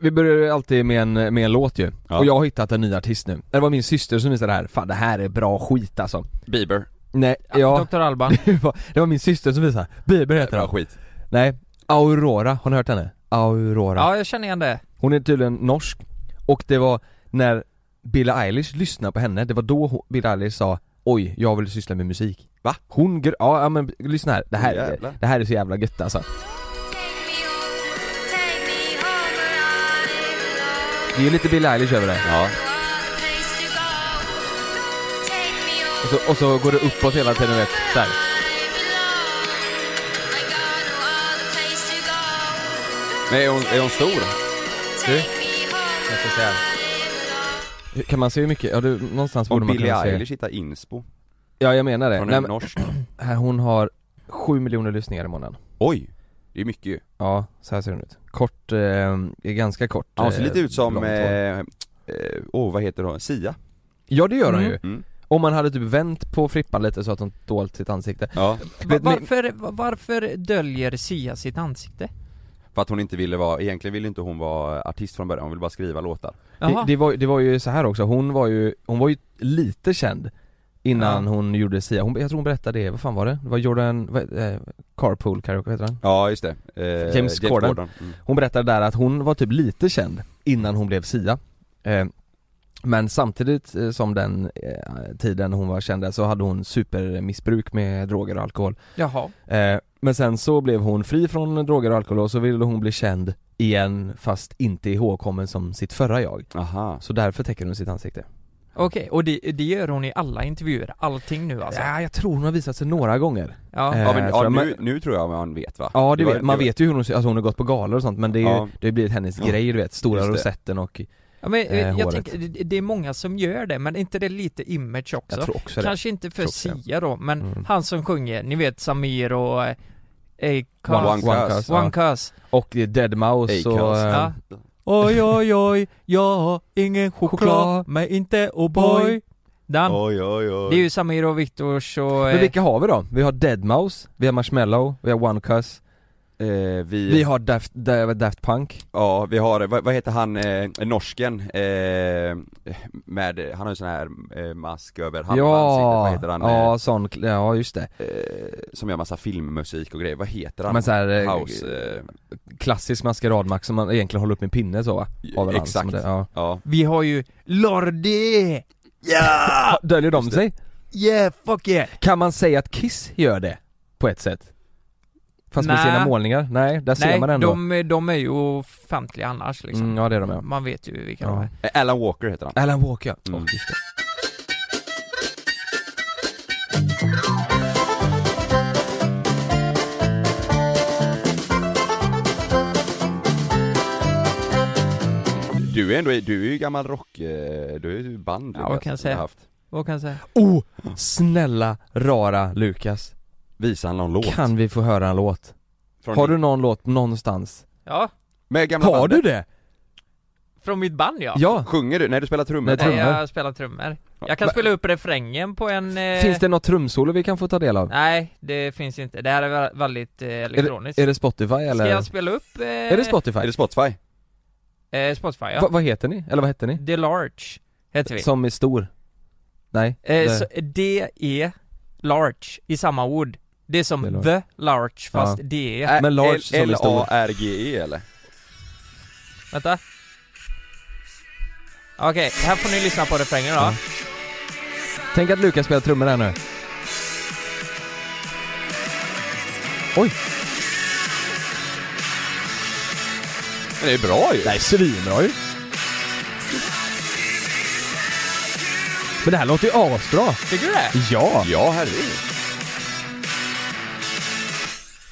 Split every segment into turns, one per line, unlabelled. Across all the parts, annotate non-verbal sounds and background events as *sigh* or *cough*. vi börjar ju alltid med en, med en låt ju,
Ja.
och jag har hittat en ny artist nu. Det var min syster som visade det här, fan det här är bra skit alltså.
Bieber.
Nej,
Ja.
ja,
Dr. Alban.
*laughs* det, var, det var min syster som visade, Bieber heter
Bra
han.
skit.
Nej, Aurora, har ni hört henne? Aurora.
Ja, jag känner igen det.
Hon är tydligen norsk, och det var när Billie Eilish lyssnade på henne, det var då hon, Billie Eilish sa Oj, jag vill syssla med musik.
Va?
Hon, gr- ja ja, men lyssna här, det här,
Jävlar.
är, det här är så jävla gött alltså. Det är ju lite Billie Eilish över det.
Ja.
Och så, och så går det uppåt hela tiden, vet, så här.
Men är hon, är hon stor?
Du? Jag ska säga.
Hur- Kan man se hur mycket? Ja du, någonstans borde
Om
man
Billie
kunna se
Eilish hittar inspo.
Ja jag menar det,
Hon
Nej,
är
men,
norsk.
här, hon har 7 miljoner lyssningar i månaden
*clears throat* Oj! Det är mycket ju.
Ja, så här ser hon ut Kort, eh, är ganska kort
Ja, Hon ser
eh,
lite ut som,
blont
eh,
hår.
eh, åh vad heter hon? Sia?
Ja det gör hon
Mm.
ju,
Mm.
om man hade typ vänt på frippan lite så att hon dolt sitt ansikte
Ja,
Va-
Vet ni-
Varför, va- varför döljer Sia sitt ansikte?
för att hon inte ville vara, egentligen ville inte hon vara artist från början, hon ville bara skriva låtar
det,
Jaha.
det, var, det var ju så här också, hon var ju, hon var ju lite känd Innan
Ja.
hon gjorde Sia, hon, jag tror hon berättade det, vad fan var det? Det var Jordan, vad, eh, Carpool Karaoke heter han?
Ja just det, eh,
James Corden.
Mm.
Hon berättade där att hon var typ lite känd innan hon blev Sia eh, Men samtidigt eh, som den eh, tiden hon var känd där så hade hon supermissbruk med droger och alkohol
Jaha.
eh, Men sen så blev hon fri från droger och alkohol och så ville hon bli känd igen fast inte ihågkommen som sitt förra jag
Aha,
Så därför täcker hon sitt ansikte
Okej, och det, det gör hon i alla intervjuer, allting nu alltså?
Ja, jag tror hon har visat sig några gånger
Ja.
Eh,
ja, men,
tror
ja
jag.
nu, nu tror jag man vet va?
Ja det
var-
vet, man
var-
vet ju hur hon, ser- alltså hon har gått på galor och sånt men det är ju,
Ja.
det har ju blivit hennes
Ja.
grej du vet, stora
Just det.
rosetten och
Ja, men, eh,
eh,
jag
håret.
tänker, det, det är många som gör det, men är inte det lite image
jag
också?
tror också det
Kanske inte för
Tror också det.
Sia då, men
Mm.
han som sjunger, ni vet Samir och eh, eh,
One,
Kaz,
One
Cause,
Cause
ja.
One Cause.
Och Deadmau5
Acast.
och... eh,
Ja. Oj oj oj, jag har ingen choklad,
Choklad.
men inte O'boy. Dan.
Oj oj oj
Det är ju Samir och Viktors och...
Men
eh,
vilka har vi då? Vi har Deadmau5, vi har Marshmallow, vi har OneCuz,
eh, vi,
vi har Daft, Da- Daft Punk
ja vi har, vad, vad heter han, eh, norsken, eh, med, han har ju sån här eh, mask över halva ansiktet, vad heter han?
ja sån, ja just det.
Eh, eh, som gör massa filmmusik och grejer, vad heter han?
Men så här, eh,
House, eh,
klassisk maskeradmask som man egentligen håller upp med pinne så va? Har väl han som
exakt,
Det, ja.
ja
Vi har ju Lordi!
Ah, Döljer de
just
sig?
Yeah, fuck yeah!
Kan man säga att Kiss gör det? På ett sätt? Fast med
Nej.
sina målningar? Nej, där ser
Nej,
man ändå
de, de är ju offentliga annars liksom.
mm, Ja det är de ja.
Man vet ju vilka
Ja.
de är.
Eh, Alan Walker heter han
Alan Walker ja.
Mm.
Åh, just det.
Du är ändå, du är ju gammal rock, eh, du är ju band
Ja,
Lukas,
vad kan jag
som
säga?
du har Haft.
Vad kan jag säga?
Oh! Snälla, rara Lukas,
Visa någon låt
kan vi få höra en låt?
från
Har du någon låt någonstans?
Ja,
Med gamla
Har du
bandet.
det?
från mitt band ja.
Ja!
Sjunger du? Nej du spelar trummor?
Nej,
Nej,
trummor.
jag spelar trummor. Jag kan
Va-
spela upp refrängen på en... Eh...
Finns det något trumsolo vi kan få ta del av?
Nej, det finns inte. Det här är vä- väldigt eh, elektroniskt.
Är det Spotify eller?
Ska jag spela upp... Eh...
Är det Spotify?
Är det Spotify?
Eh, Spotify ja.
Va, vad heter ni? Eller vad hette ni?
The Large heter vi.
Som är stor? Nej?
Eh,
det-
så D-E Large i samma ord. Det är som
The
The
Large.
Large, fast E.
Ja.
D-E.
Ä-
Men Large
L-
som är stor.
L-A-R-G-E E, eller?
Vänta. Okej, här får ni lyssna på refrängen då.
Ja. Tänk att Lukas spelar trummor här nu Oj!
Men det är bra ju!
är svinbra ju! Men det här låter ju asbra!
Tycker du det?
Ja!
Ja herregud!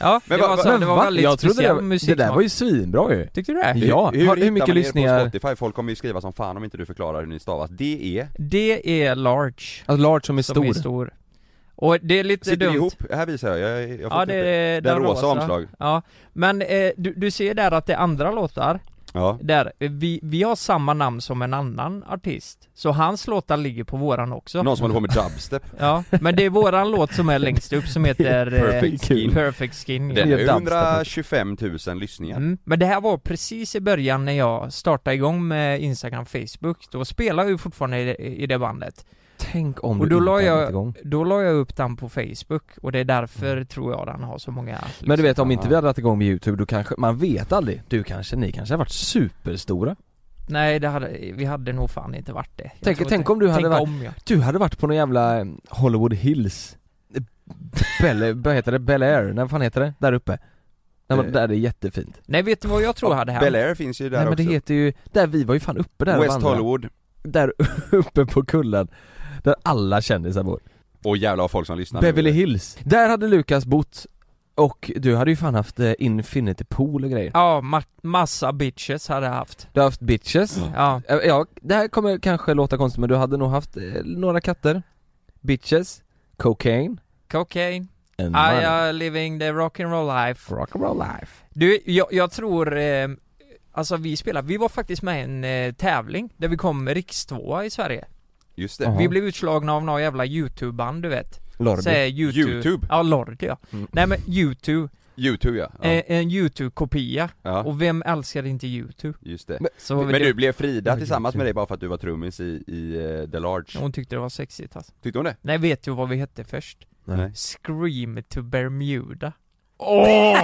Ja,
Men
det
va-
var,
va-
så, det var
va?
väldigt
jag trodde det,
speciell
var- det
musiksmak.
där var ju svinbra ju!
Tyckte du det?
Ja,
hur,
hur
hittar
mycket
man er
lyssningar?
på Spotify? Folk kommer ju skriva som fan om inte du förklarar hur ni stavas. D-E,
Det är large.
Alltså Large som är
Som
stor.
är stor. Och det är lite
sitter
dumt.
ni ihop? Här visar jag, jag, jag får
Ja, det är
Den rosa,
rosa
omslag.
Ja, men eh, du, du ser där att det är andra låtar.
Ja,
Där, vi, vi har samma namn som en annan artist, så hans låtar ligger på våran också
någon som håller på med dubstep
Ja, men det är våran låt som är längst upp som heter eh,
Perfect Skin.
Perfect Skin ja.
Den har ju
dubstep.
125 000 lyssningar
Mm. Men det här var precis i början när jag startade igång med Instagram och Facebook, då spelade jag ju fortfarande i det, i det bandet.
Tänk om
Och
du
då
inte
la
hade
jag-
jag... igång
Då la jag upp den på Facebook och det är därför tror jag den har så många
typ
liksom.
Mm. Men du vet om inte
Ja.
vi hade dragit igång med youtube då kanske, man vet aldrig, du kanske, ni kanske har varit superstora
Nej, det hade, vi hade nog fan inte varit det. Jag
Tänk-
tror
tänk
inte-
om du hade
tänk
varit-
om jag.
Du hade varit på någon jävla eh, Hollywood Hills Eh, Bel, *laughs* vad heter det? Bel Air? När fan heter det? Där uppe? Där, man,
Eh.
där det är jättefint
Nej, vet du vad jag tror
Ja,
hade hänt?
Bel Air finns ju där
Nej men
också
det heter ju, där vi var ju fan uppe där och
West
vandrade.
Hollywood
Där *laughs* uppe på kullen Där alla kändisar bor
och jävlar vad folk som lyssnar nu.
Beverly Hills Där hade Lukas bott och du hade ju fan haft eh, infinity pool och grejer
Ja, ma- massa bitches hade jag haft.
Du har haft bitches
Ja,
Eh, Ja, det här kommer kanske låta konstigt men du hade nog haft eh, några katter Bitches, cocaine,
cocaine,
and
I
money
are living the rock'n'roll life.
Rock'n'roll life
Du, jag, jag tror, eh, alltså vi spelade, vi var faktiskt med i en eh, tävling där vi kom rikstvåa i Sverige.
Just det,
Ja.
Vi blev utslagna av några jävla youtube-band du vet.
Lordi
Säg YouTube.
YouTube?
Ja, Lordi ja.
Mm.
Nej men YouTube,
YouTube ja, ja.
eh, en youtube-kopia.
ja
Och vem älskar inte youtube?
just det
Men-
Så
Men du, blev Frida
Ja,
tillsammans
YouTube.
med dig bara för att du var trummis i, i eh, The Large?
hon tyckte det var sexigt alltså.
Tyckte hon det?
Nej vet du vad vi hette först?
Nej.
Scream to Bermuda. *laughs*
Åh!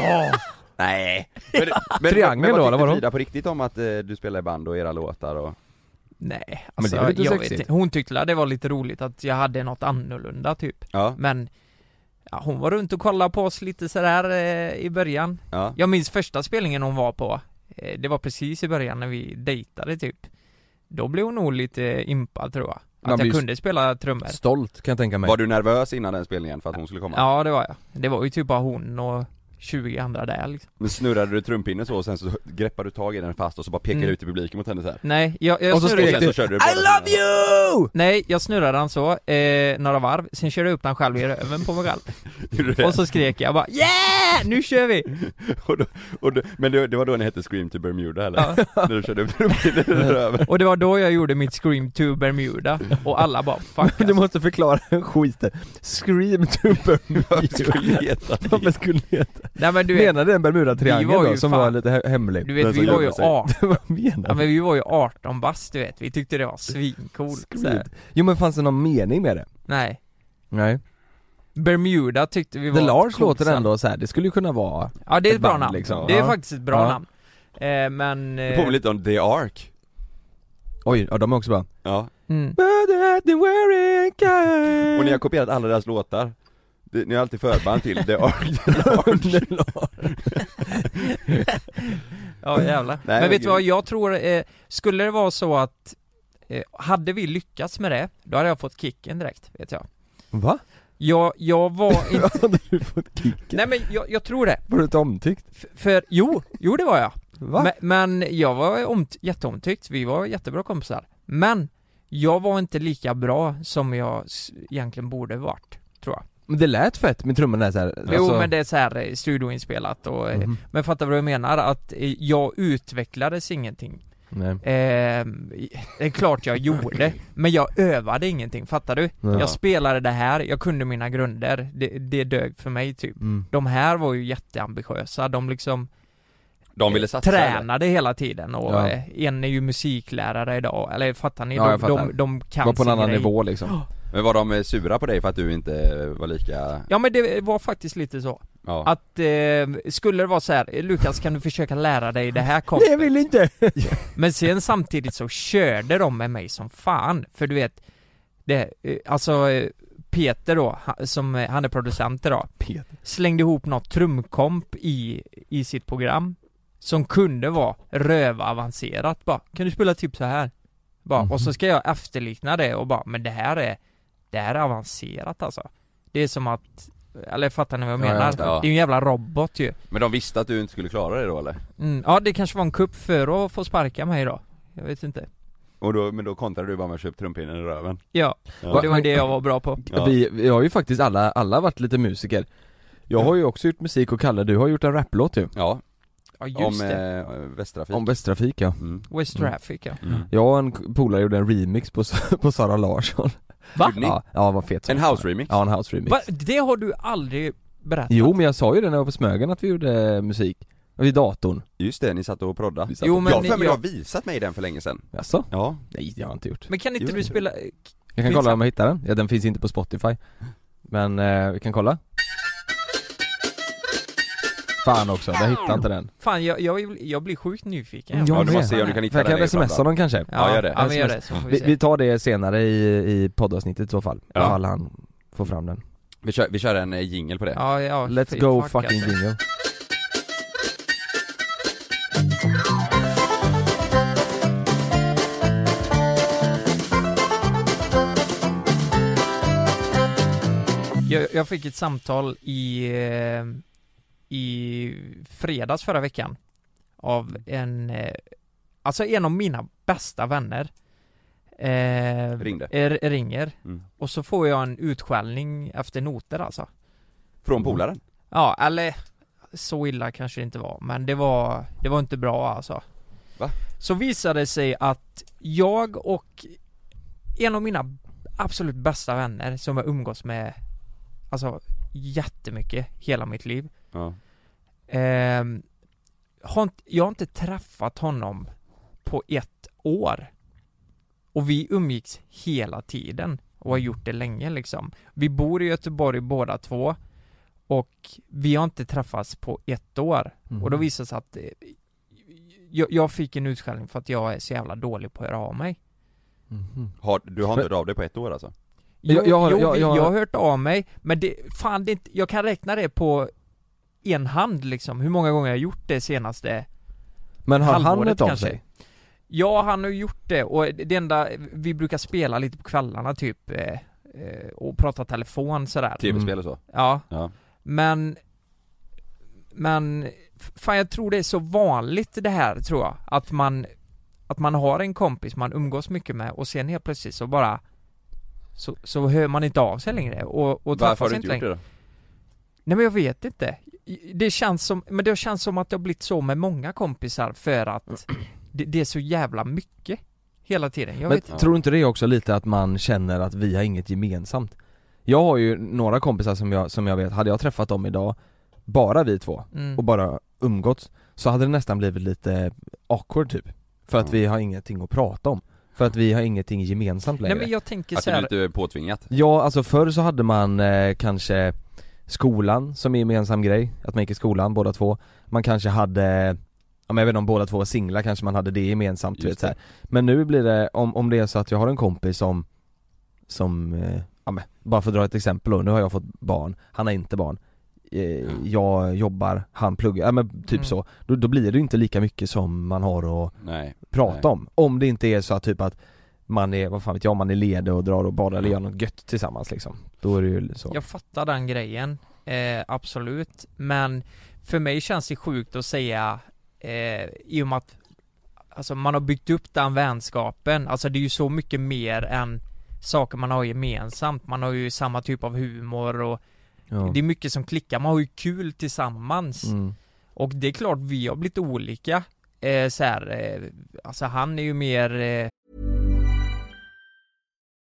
Nej! Men, men,
Triangel
men
då,
vad
eller vadå?
tyckte Frida på riktigt om att eh, du spelar i band och era låtar och...
Nej, alltså,
det är väl inte
jag
sexigt?
vet, inte. hon tyckte att det var lite roligt att jag hade något annorlunda typ.
Ja,
Men ja, hon var runt och kollade på oss lite sådär eh, i början.
ja,
Jag minns första spelningen hon var på. Eh, det var precis i början när vi dejtade typ. Då blev hon nog lite impad tror jag.
Man
Att
blir
jag
ju
kunde spela trummor.
Stolt kan jag tänka mig
Var du nervös innan den spelningen för att hon skulle komma?
Ja det var jag. Det var ju typ bara hon och 20 andra där liksom.
Men snurrade du trumpinnen så och sen så greppade du tag i den fast och så bara pekade
Mm.
ut i publiken mot henne så här.
Nej, jag, jag
Och så
Och
skrek
snurrade
sen så
du,
körde du
I love you!
Nej, jag snurrade han så, eh, några varv, sen körde jag upp den själv i röven på
*laughs*
mig själv.
you!
*laughs* Och så skrek jag bara 'Yeah! Nu kör vi!'
och då, *laughs* och då, men det, det var då ni hette Scream to Bermuda eller?
Ja.
*laughs* När du körde upp trumpinnen
*laughs*
över.
Och det var då jag gjorde mitt Scream to Bermuda och alla bara
*laughs*
'Fuck
Du
alltså.
måste förklara skiten Scream
*laughs*
to Bermuda *laughs* Varför skulle det heta
alltså." Nej men du vet,
Menade den
vi var
Bermuda-triangeln
ju
då som
fan-
var lite he- hemlig?
du
Den
vet
som
vi var ju
gömmer sig.
18,
*laughs* Vad
ja,
menar
men vi var ju 18 bast du vet, vi tyckte det var svincoolt så
Scream.
här.
Jo men fanns det någon mening med det?
Nej,
Nej
Bermuda tyckte vi var
The Lars
coolt
låter
sen.
ändå så här. det skulle ju kunna vara
Ja det är
ett
ett bra
band,
namn,
liksom.
det är
Ja.
faktiskt ett bra
Ja.
namn eh, Men...
Det
Eh,
påminner lite om The Ark.
Oj, ja de är också bra
Ja.
mm.
Och ni har kopierat alla deras låtar. Det, ni har alltid förband till The
*laughs*
Ark.
Ja jävlar.
Nej,
men
men
vet du
gud.
vad, jag tror, eh, skulle det vara så att eh, hade vi lyckats med det, då hade jag fått kicken direkt, vet jag.
Va? *laughs*
Jag, jag var inte,
Hade du fått kicken?
nej men jag, jag tror det.
Var du inte omtyckt?
F- för, jo, jo det var jag.
Va?
Men, men jag var omt, jätteomtyckt, vi var jättebra kompisar. Men, jag var inte lika bra som jag s- egentligen borde varit, tror jag.
Men det lät fett med trummorna där så här.
Jo
Alltså-
men det är så här eh, studioinspelat och, eh,
Mhm.
men fattar vad jag menar? Att eh, jag utvecklades ingenting.
Nej.
Eh, det är klart jag *laughs* gjorde, men jag övade ingenting, fattar du?
Ja.
Jag spelade det här, jag kunde mina grunder, det, det dög för mig typ
Mm.
De här var ju jätteambitiösa, de liksom
De ville
eh,
satsa. eller?
tränade hela tiden och
Ja.
eh, en är ju musiklärare idag, eller fattar ni?
Ja,
de,
jag fattar.
de, de kan
Var på en
sin
annan
grej.
nivå
*gasps*
liksom
Men var de eh, sura på dig för att du inte eh, var lika,
Ja men det var faktiskt lite så,
ja.
att eh, skulle det vara så här, Lukas kan du försöka lära dig
*laughs*
det här kom
Nej jag vill inte!
Men sen samtidigt så körde de med mig som fan, för du vet det, eh, Alltså eh, Peter då, ha- som eh, han är producent idag
Peter.
Slängde ihop något trumkomp i, i sitt program Som kunde vara rövavancerat bara, kan du spela typ så här? Bara, och
Mhm.
så ska jag efterlikna det och bara, men det här är Det här är avancerat alltså Det är som att Eller fattar ni vad jag
Ja, jag
menar?
fattar.
Det är ju en jävla robot ju
Men de visste att du inte skulle klara det då eller?
mm, Ja det kanske var en kupp för att få sparka mig då Jag vet inte
Och då, men då kontrade du bara med att köpa trumpinnen i röven?
Ja,
Ja.
Och det var ju det jag var bra på.
Ja.
Vi, vi har ju faktiskt alla, alla varit lite musiker Jag har ju också gjort musik och Kalle du har gjort en raplåt ju
Ja,
Ja
om
just det,
eh, Västtrafik
Om Västtrafik ja
mm.
West
mm.
Traffic ja
Mm.
Jag och en k- polare gjorde en remix på, S- *laughs* på Sara Larsson
Va?
Gjorde ni?
Ja, ja vad fet som
En
fan.
house remix?
Ja en house remix
Va? Det har du aldrig berättat?
Jo men jag sa ju det när jag var på Smögen att vi gjorde eh, musik Vid datorn
Just det, ni satt och prodda
Vi satt
Jo
och-
men,
Jag har för mig du har
jag,
visat mig den för länge sedan
Jaså?
Ja,
Nej det har jag inte gjort
men kan inte
Jo.
du spela,
Jag kan
Finns
kolla
den?
om jag hittar den, ja den finns inte på Spotify Men eh, vi kan kolla Fan också, jag hittar inte den
fan jag, jag, jag blir sjukt nyfiken
Mm,
ja,
Jag
du
med.
måste se om du kan hitta
Jag
den
kan
i
smsa
Framland.
dem kanske
Ja, gör det.
Ja men gör det, så får vi
vi,
se
vi tar det senare i, i poddavsnittet i så fall,
Ja.
ifall han får fram den
vi, kör, vi kör en eh, jingle på det
ja, ja,
Let's
fy
go
fuck,
fucking
alltså.
jingle
jag, jag fick ett samtal i, eh, i fredags förra veckan Av en, eh, alltså en av mina bästa vänner eh,
Ringde.
er, Ringer
Mm.
Och så får jag en utskällning efter noter alltså
Från polaren?
Ja, eller så illa kanske det inte var, men det var, det var inte bra alltså.
Va?
Så visade det sig att jag och en av mina absolut bästa vänner som jag umgås med, alltså jättemycket hela mitt liv.
Ja,
ehm, har inte, jag har inte träffat honom på ett år. Och vi umgicks hela tiden och har gjort det länge liksom. Vi bor i Göteborg båda två och vi har inte träffats på ett år. Och
Mm.
då visade det sig att eh, jag, jag fick en utskällning för att jag är så jävla dålig på att höra av mig.
Mhm.
har, du har inte hört av dig på ett år alltså?
Jo,
Jag- jag har-
jo,
jag-
vi-
jag-
jag har hört av mig, men det, fan det är inte, jag kan räkna det på en hand liksom, hur många gånger jag har gjort det senaste
Men har han
halvåret
hört av
kanske.
sig?
Ja, han har ju gjort det och det enda, vi brukar spela lite på kvällarna typ eh, eh, och prata telefon sådär
Tv-spel och så?
Ja,
Typ. Ja,
men Men f- fan jag tror det är så vanligt det här tror jag att man att man har en kompis man umgås mycket med och sen helt plötsligt så bara så, så hör man inte av sig längre och, och
Varför har
träffas
du inte
inte
gjort
längre.
det då?
Nej men jag vet inte. I- Det känns som, men det känns som att det har blivit så med många kompisar för att det, det är så jävla mycket hela tiden. Jag
Mm. Men
vet
tror du inte det också lite att man känner att vi har inget gemensamt? Jag har ju några kompisar som jag, som jag vet, hade jag träffat dem idag, bara vi två,
Mm.
och bara umgåtts, så hade det nästan blivit lite awkward typ För att
Ja.
vi har ingenting att prata om, för att vi har ingenting gemensamt längre
Nej men jag tänker
Att
så
du
här,
inte är påtvingat?
Ja, alltså förr så hade man eh, kanske skolan som är gemensam grej, att man gick i skolan båda två Man kanske hade, ja, men jag vet inte om båda två var singlar kanske man hade det gemensamt du
Just
vet, så här. Men nu blir det, om, om det är så att jag har en kompis som, som, eh, ja, men, bara för att dra ett exempel då, nu har jag fått barn, han har inte barn eh, jag jobbar, han pluggar, ja, men typ
Mm.
så. Då, då blir det ju inte lika mycket som man har att
Nej,
prata
Nej.
om. Om det inte är så att typ att man är, vad fan vet jag, man är ledig och drar och badar eller gör något gött tillsammans liksom. Då är det ju så.
jag fattar den grejen, eh, absolut. Men för mig känns det sjukt att säga, eh, i och med att alltså, man har byggt upp den vänskapen, alltså det är ju så mycket mer än saker man har gemensamt. Man har ju samma typ av humor och
Ja.
det är mycket som klickar, man har ju kul tillsammans.
Mm.
Och det är klart vi har blivit olika eh, så här, eh, alltså han är ju mer eh,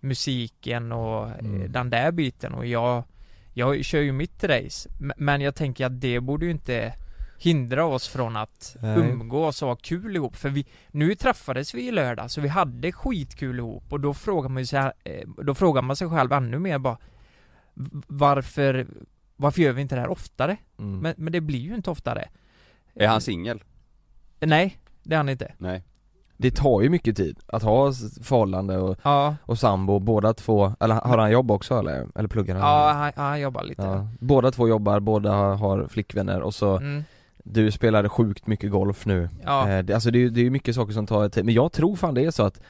musiken och eh,
Mm.
den där biten och jag Jag kör ju mitt race M- Men jag tänker att det borde ju inte Hindra oss från att
Nej.
umgås och ha kul ihop för vi Nu träffades vi i lördag så vi hade skitkul ihop och då frågar man ju så här, eh, Då frågar man sig själv ännu mer bara v- Varför Varför gör vi inte det här oftare?
Mm.
Men, men det blir ju inte oftare
är han singel?
Nej, Eh, det är han inte
Nej
Det tar ju mycket tid att ha s- förhållande och,
Ja,
och sambo, båda två, eller har han jobb också eller? Eller pluggar han?
ja han, han jobbar lite
Ja. Båda två jobbar, båda har- har flickvänner och så,
Mm.
du spelade sjukt mycket golf nu
Ja,
Eh, det, alltså det, är ju- det är ju mycket saker som tar tid, men jag tror fan det är så att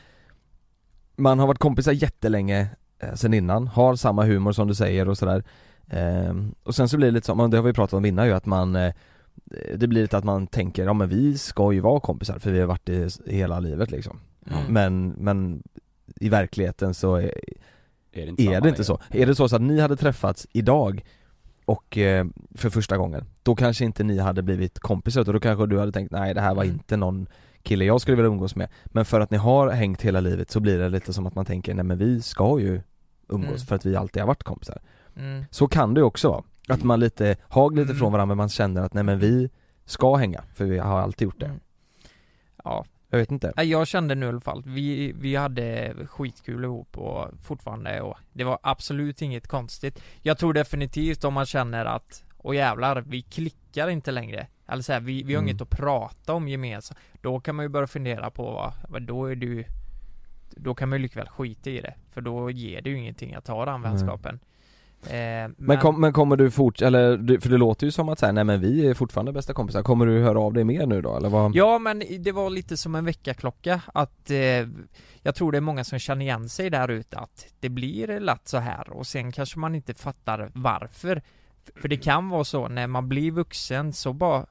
Man har varit kompisar jättelänge eh, sen innan, har samma humor som du säger och sådär eh, Och sen så blir det lite så, men det har vi pratat om innan ju att man eh, Det blir lite att man tänker, ja men vi ska ju vara kompisar för vi har varit det hela livet liksom
Mm.
Men, men i verkligheten så är,
Är det inte,
är
samma
det inte
längre?
så. Är det så, så att ni hade träffats idag och eh, för första gången, då kanske inte ni hade blivit kompisar utan då kanske du hade tänkt nej det här var
Mm.
inte någon kille jag skulle vilja umgås med. Men för att ni har hängt hela livet så blir det lite som att man tänker nej men vi ska ju umgås
Mm.
för att vi alltid har varit kompisar.
mm.
Så kan det ju också vara. Att man lite, hag lite
Mm.
från varandra men man känner att nej men vi ska hänga för vi har alltid gjort det.
Mm. Ja,
Jag vet inte.
Nej, jag kände nu i alla fall, vi, vi hade skitkul ihop och fortfarande och det var absolut inget konstigt Jag tror definitivt om man känner att, åh jävlar, vi klickar inte längre Eller så här, vi, vi har
Mm.
inget att prata om gemensamt Då kan man ju börja fundera på, va, men då är du Då kan man ju likväl skita i det För då ger det ju ingenting att ha den
Nej.
vänskapen eh, Men,
Men, kom, men kommer du fort, eller du- för det låter ju som att säga nej men vi är fortfarande bästa kompisar, kommer du höra av dig mer nu då eller vad?
Ja men det var lite som en väckarklocka att eh, Jag tror det är många som känner igen sig där ute att det blir lätt så här och sen kanske man inte fattar varför För det kan vara så när man blir vuxen så bara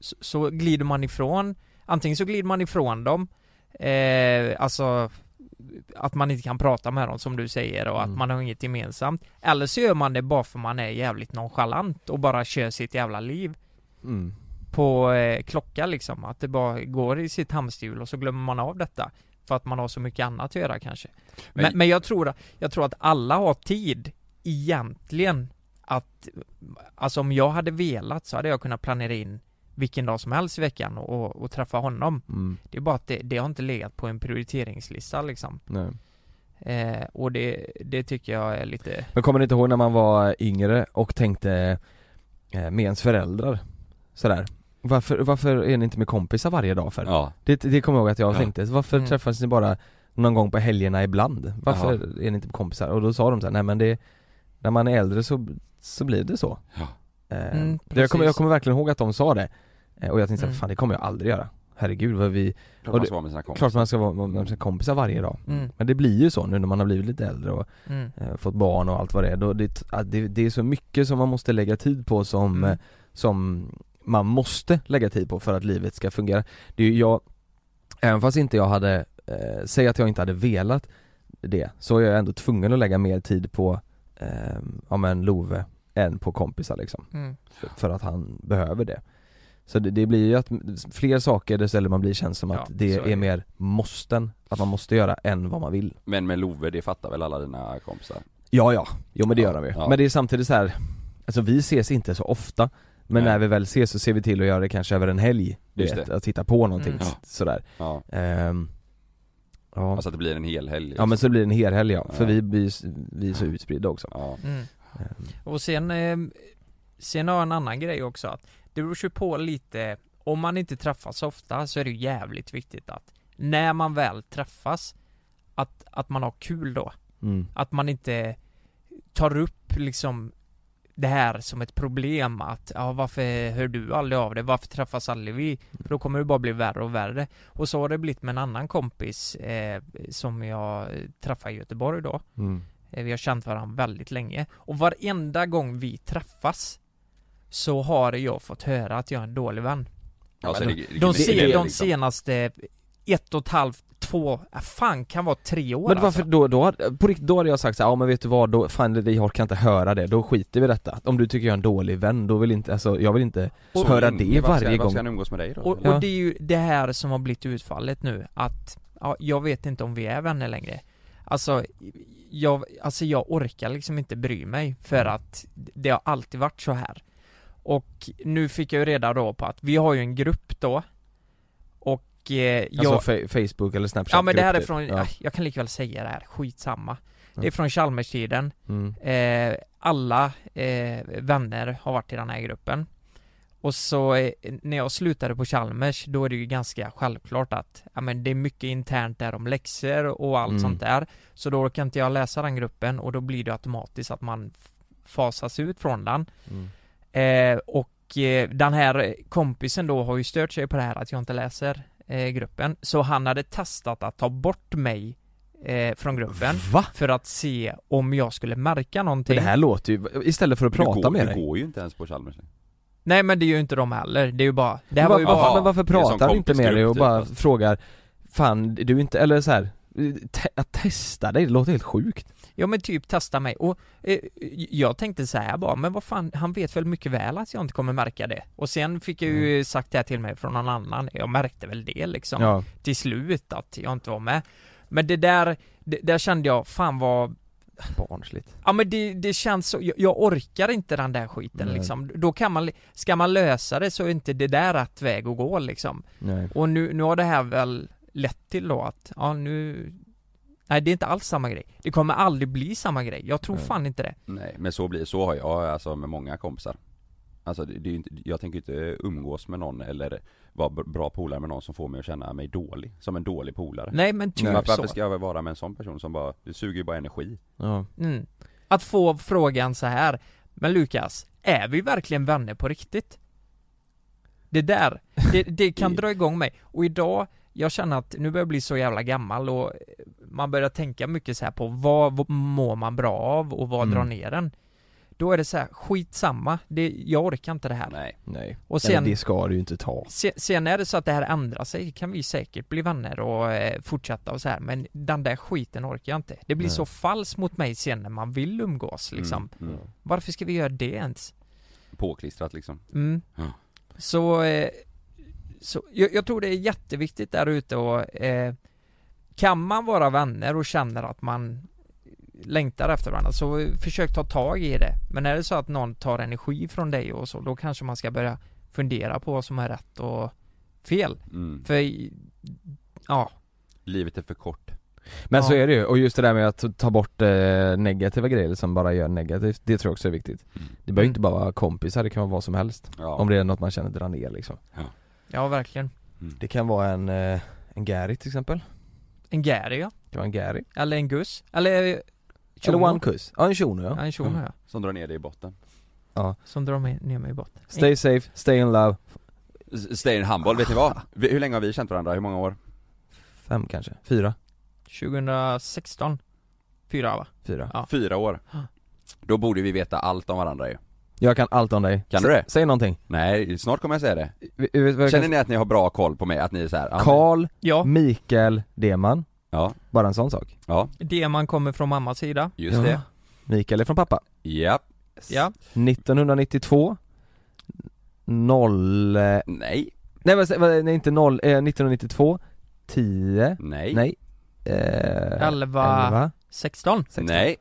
Så, så glider man ifrån Antingen så glider man ifrån dem eh, Alltså Att man inte kan prata med dem som du säger och att
Mm.
man har inget gemensamt Eller så gör man det bara för man är jävligt nonchalant och bara kör sitt jävla liv
Mm.
på eh, klocka liksom, att det bara går i sitt hamsterhjul och så glömmer man av detta för att man har så mycket annat att göra kanske. Men,
Men-
men jag, tror, jag tror att alla har tid egentligen att, alltså om jag hade velat så hade jag kunnat planera in vilken dag som helst i veckan och, och, och träffa honom.
Mm.
Det är bara att det, det har inte legat på en prioriteringslista liksom.
Nej.
Eh, och det, det tycker jag är lite,
Men kommer ni inte ihåg när man var yngre och tänkte eh, med ens föräldrar? Sådär varför, varför är ni inte med kompisar varje dag för?
Ja,
Det, det kommer jag ihåg att jag
Ja.
tänkte, varför
Mm.
träffas ni bara någon gång på helgerna ibland? Varför är ni inte med kompisar? Och då sa de så här, nej men det När man är äldre så, så blir det så
Ja.
eh,
Mm,
det, jag, kommer, jag
precis.
kommer verkligen ihåg att de sa det eh, Och jag tänkte mm.
Mm.
fan det kommer jag aldrig göra Herregud vad vi, Och
klart man
det-
ska vara med sina kompisar
klart man ska vara med sina kompisar varje dag
mm,
Men det blir ju så nu när man har blivit lite äldre och
mm,
eh, fått barn och allt vad det är, då det, ah, det, det är så mycket som man måste lägga tid på som,
Mm.
eh, som man måste lägga tid på för att livet ska fungera. Det är ju jag, även fast inte jag hade, eh, säg att jag inte hade velat det, så är jag ändå tvungen att lägga mer tid på, eh, ja men Love, än på kompisar liksom,
mm,
för, för att han behöver det. Så det, det blir ju att m- fler saker desto äldre man blir känns som
Ja,
att det
så är
är,
det.
mer måsten, att man måste göra än vad man vill.
Men med Love, det fattar väl alla dina kompisar?
Ja, ja. Jo men det
Ja,
gör de ju.
ja.
Men det är samtidigt så här. alltså vi ses inte så ofta, men
Nej.
när vi väl ses så ser vi till att göra det kanske över en helg. Du
Just
vet,
det.
att titta på någonting
Mm.
s- sådär.
Ja,
Ehm, ja.
alltså att det blir en hel helg liksom.
ja men så blir det en hel helg ja, för
Ja.
vi, blir s- vi är så utspridda också.
Ja,
mm.
Ehm,
Och sen, eh, sen har jag en annan grej också att det beror ju på lite, om man inte träffas så ofta så är det ju jävligt viktigt att när man väl träffas, att, att man har kul då.
Mm.
Att man inte tar upp liksom det här som ett problem att ja, varför hör du aldrig av dig? Varför träffas aldrig vi? För då kommer det bara bli värre och värre. Och så har det blivit med en annan kompis eh, som jag träffade i Göteborg då.
Mm.
Eh, Vi har känt varandra väldigt länge och varenda gång vi träffas så har jag fått höra att jag är en dålig vän.
alltså, det, det,
De,
det- det-
se, de
liksom.
senaste ett och ett halvt, två, äh, fan kan vara tre år
Men varför
alltså.
då, då, hade- på riktigt, då hade jag sagt såhär, ja men vet du vad, då, fan det- jag orkar inte höra det, då skiter vi i detta. Om du tycker jag är en dålig vän, då vill inte, alltså jag vill inte
Så
höra
länge,
det
varför ska-
varje
Varför ska
gång.
han umgås med dig då?
Och,
Ja.
och det är ju det här som har blivit utfallet nu att ja, jag vet inte om vi är vänner längre. Alltså jag, alltså jag orkar liksom inte bry mig för
Mm.
att det har alltid varit så här. Och nu fick jag ju reda då på att vi har ju en grupp då och eh, jag,
Alltså fa- Facebook eller Snapchat
Ja men det här är
grupper.
från,
ja. Mm.
ah, jag kan lika väl säga det här, skitsamma Det
Ja.
är från Chalmerstiden,
Mm.
eh, alla eh, vänner har varit i den här gruppen Och så eh, när jag slutade på Chalmers, då är det ju ganska självklart att ja, men det är mycket internt där om läxor och allt
Mm.
sånt där Så då kan inte jag läsa den gruppen och då blir det automatiskt att man f- fasas ut från den
Mm.
eh, Och eh, den här kompisen då har ju stört sig på det här att jag inte läser eh, gruppen Så han hade testat att ta bort mig eh, från gruppen
Va?
för att se om jag skulle märka någonting
Men det här låter ju, istället för att
du
prata
går,
med
du
dig
går ju inte ens på Chalmers
Nej men det är ju inte de heller, det är ju bara Det här
Men
var ju
varför,
bara
Jaha.
men varför
det är en sån
pratar du inte med dig och
kompisgrupp,
bara
typ, fast.
frågar Fan, du är inte, eller så här, te, att testa dig, det låter helt sjukt
Ja men typ testa mig och eh, jag tänkte så här bara, men vad fan, han vet väl mycket väl att jag inte kommer märka det. Och sen fick jag ju sagt det här till mig från någon annan, jag märkte väl det liksom
Mm. Ja,
till slut att jag inte var med. Men det där, det, där kände jag, fan vad,
barnsligt
ja men det, det känns så, jag, jag orkar inte den där skiten
Nej.
liksom. Då kan man, ska man lösa det så är inte det där rätt väg att gå liksom.
Nej.
Och nu, nu har det här väl lett till då att, ja nu Nej det är inte alls samma grej. Det kommer aldrig bli samma grej. Jag tror
Nej.
fan inte det.
Nej, men så blir, så har jag alltså med många kompisar Alltså det, det är ju inte, jag tänker inte umgås med någon eller vara b- bra polare med någon som får mig att känna mig dålig, som en dålig polare
Nej men typ
varför,
så.
varför ska jag vara med en sån person som bara, det suger ju bara energi
Ja,
Mm. Att få frågan så här. Men Lukas, är vi verkligen vänner på riktigt? Det där, det,
*laughs*
det kan dra igång mig. Och idag, jag känner att nu börjar jag bli så jävla gammal och man börjar tänka mycket så här på vad, vad mår man bra av och vad
Mm.
drar ner en? Då är det så här, skitsamma, det, jag orkar inte det här.
Nej
nej
Och
Eller
sen,
det ska du ju inte ta
se, sen är det så att det här ändrar sig, kan vi säkert bli vänner och eh, fortsätta och så här. men den där skiten orkar jag inte. Det blir
Nej.
så falskt mot mig sen när man vill umgås liksom.
mm, mm.
Varför ska vi göra det ens?
Påklistrat liksom
Mm.
Ja.
Så, eh, så jag, jag tror det är jätteviktigt där ute och eh, kan man vara vänner och känner att man längtar efter varandra så eh, försök ta tag i det. Men är det så att någon tar energi från dig och så, då kanske man ska börja fundera på vad som är rätt och fel.
mm.
För, ja,
Livet är för kort
Men så
Ja.
är det ju, och just det där med att ta bort eh, negativa grejer som bara gör negativt, det tror jag också är viktigt
Mm.
Det behöver ju inte bara vara kompisar, det kan vara vad som helst
ja.
Om det är något man känner drar ner liksom
ja verkligen.
Det kan vara en, eh, en Gary till exempel,
En Gary ja,
det kan vara en Gary
eller en Gus, eller
Eller
Tjono.
one kuss, ja en Shuno ja Mm.
Ja, en Tjono ja.
Som drar ner dig i botten
Som drar mig, ner mig i botten.
Stay safe, stay in love,
S- Stay in handboll, vet ni vad? *laughs* Vi, hur länge har vi känt varandra? Hur många år?
fem kanske, fyra,
2016 Fyra va?
fyra
Ja.
Fyra år
Ja.
Då borde vi veta allt om varandra ju
Jag kan allt om dig
Kan du
Sä-
det?
Säg någonting
Nej, snart kommer jag säga det
Vi- vi- vi-
Känner ni att ni har bra koll på mig? Att ni är såhär,
Karl,
Ja,
Mikael, Deman
ja,
Bara en sån sak
ja,
det man kommer från mammas sida
just
Ja.
det
Mikael är från pappa
Ja,
Ja,
1992 Noll... eh,
nej,
Nej vad sä- vad- nej inte noll, eh, 1992 10
nej,
Nej eh,
elva,
11
sexton,
16.
nej,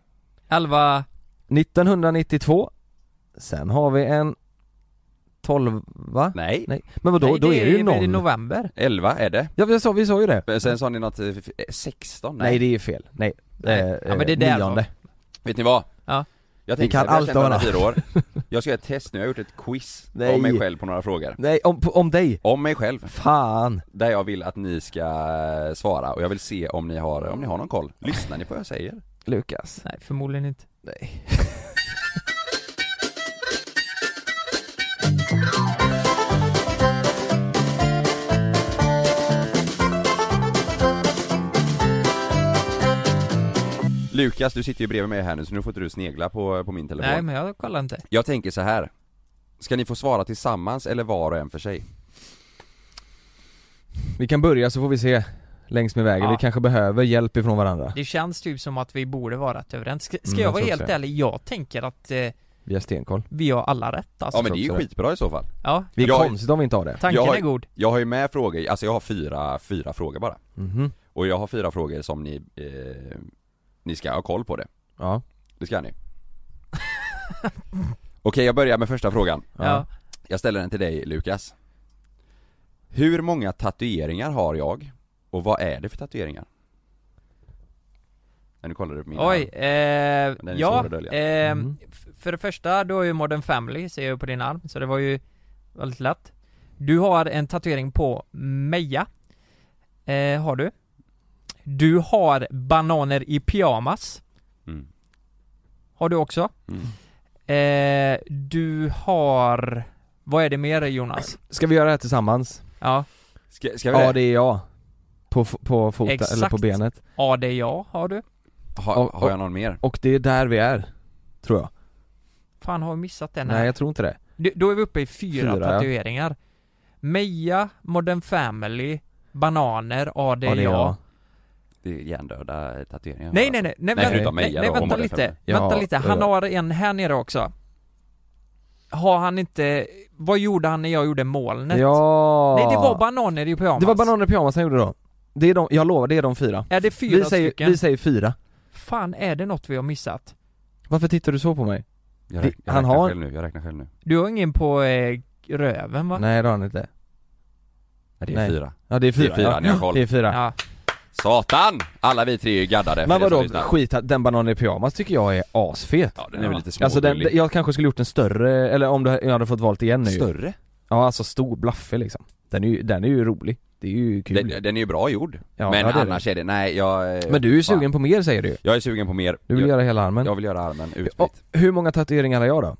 elva,
1992 Sen har vi en 12 va?
nej,
Nej men vadå,
Nej,
då är det ju
i
noll
november
elva är det
Ja vi sa, vi sa ju det
Men Sen sa ni något, eh, f- eh, 16?
Nej,
Nej,
det är fel, nej,
Nej.
Eh,
Ja, men det
eh,
där var-
nionde
vet ni vad?
Ja.
Jag
Vi
tänker
kan
så här,
allt
vi har
om
känt varandra fyra år Jag ska göra ett test nu, jag har gjort ett quiz
Nej.
om mig själv på några frågor
Nej, om, på- om dig!
Om mig själv,
Fan!
där jag vill att ni ska eh, svara och jag vill se om ni har, om ni har någon koll Lyssnar ni på vad jag säger?
Lukas
Nej förmodligen inte
Nej
Lukas, du sitter ju bredvid mig här nu så nu får inte du snegla på, på min telefon
Nej men jag kollar inte
Jag tänker så här. Ska ni få svara tillsammans eller var och en för sig?
Vi kan börja så får vi se längs med vägen,
Ja.
vi kanske behöver hjälp ifrån varandra
Det känns typ som att vi borde vara rätt överens Ska, ska
Mm,
jag
jag
vara
tror
helt
också det.
ärlig? Jag tänker att eh,
Vi har stenkoll
vi har alla rätt alltså
Ja men det är ju
också det.
skitbra i så fall
Ja,
Vi är
Jag-
konstigt om vi inte har det
tanken
Jag-
är god
Jag har ju med frågor, alltså jag har fyra, fyra frågor bara
Mhm,
Och jag har fyra frågor som ni, eh, ni ska ha koll på det,
ja,
det ska ni
*laughs*
Okej jag börjar med första frågan
ja.
ja.
Jag ställer den till dig Lukas Hur många tatueringar har jag? Och vad är det för tatueringar? Nej, nu kollar du på mina
Oj, eh,
Den är svår
ja,
att dölja.
eh,
Mhm.
f- för det första, du har ju Modern Family ser jag ju på din arm, så det var ju väldigt lätt Du har en tatuering på Meja eh, Har du Du har bananer i pyjamas
Mm.
Har du också
Mm.
eh, Du har Vad är det mer Jonas?
Ska vi göra det här tillsammans?
Ja
Ska, ska vi
Ja
det?
det är jag På, f- på foten,
Exakt.
eller på benet
Ja det är jag, har du?
Ha,
och-
har jag någon mer?
Och det är där vi är Tror jag
Fan har jag missat den
Nej,
här?
jag tror inte det
Du- Då är vi uppe i fyra,
Fyra, ja.
tatueringar Meja, Modern Family, Bananer, ja det är jag
Det är hjärndöda tatueringar
Nej nej nej, nej,
Nej,
vänta,
förutom
nej,
Meja
nej
då,
vänta
Modern
lite,
Family.
vänta
Ja,
lite,
ja,
han
ja.
har en här nere också Har han inte, vad gjorde han när jag gjorde molnet?
Ja!
Nej det var bananer i pyjamas
Det var bananer i pyjamas han gjorde då Det är de, jag lovar, det är de fyra
Är det fyra
vi, säger,
stycken?
vi säger fyra
Fan är det något vi har missat?
Varför tittar du så på mig?
jag,
det-
räknar, jag
han
räknar
har-
själv nu, jag räknar själv nu
Du har ingen på eh, röven va?
Nej det har han inte
Nej, det är
Nej.
fyra
Ja det är fyra,
Det är fyra, ni har
ja.
koll.
Det är fyra
Ja.
Satan! Alla vi tre är ju gaddade för
Men
er som
vadå,
lyssnar.
skit att den bananen i pyjamas tycker jag är asfet
Ja den är väl lite smågullig
Alltså den, jag kanske skulle gjort en större, eller om du, jag hade fått valt igen nu
Större?
Ja alltså stor, blaffig liksom Den är ju, den är ju rolig, det är ju kul
Den, den är ju bra gjord
Ja,
Men
ja, det är
annars är det, nej jag... eh,
Men du är ju
fan.
sugen på mer säger du ju.
Jag är sugen på mer
Du vill
jag,
göra hela armen
jag vill göra armen utspritt
Ja, Hur många tatueringar har jag då?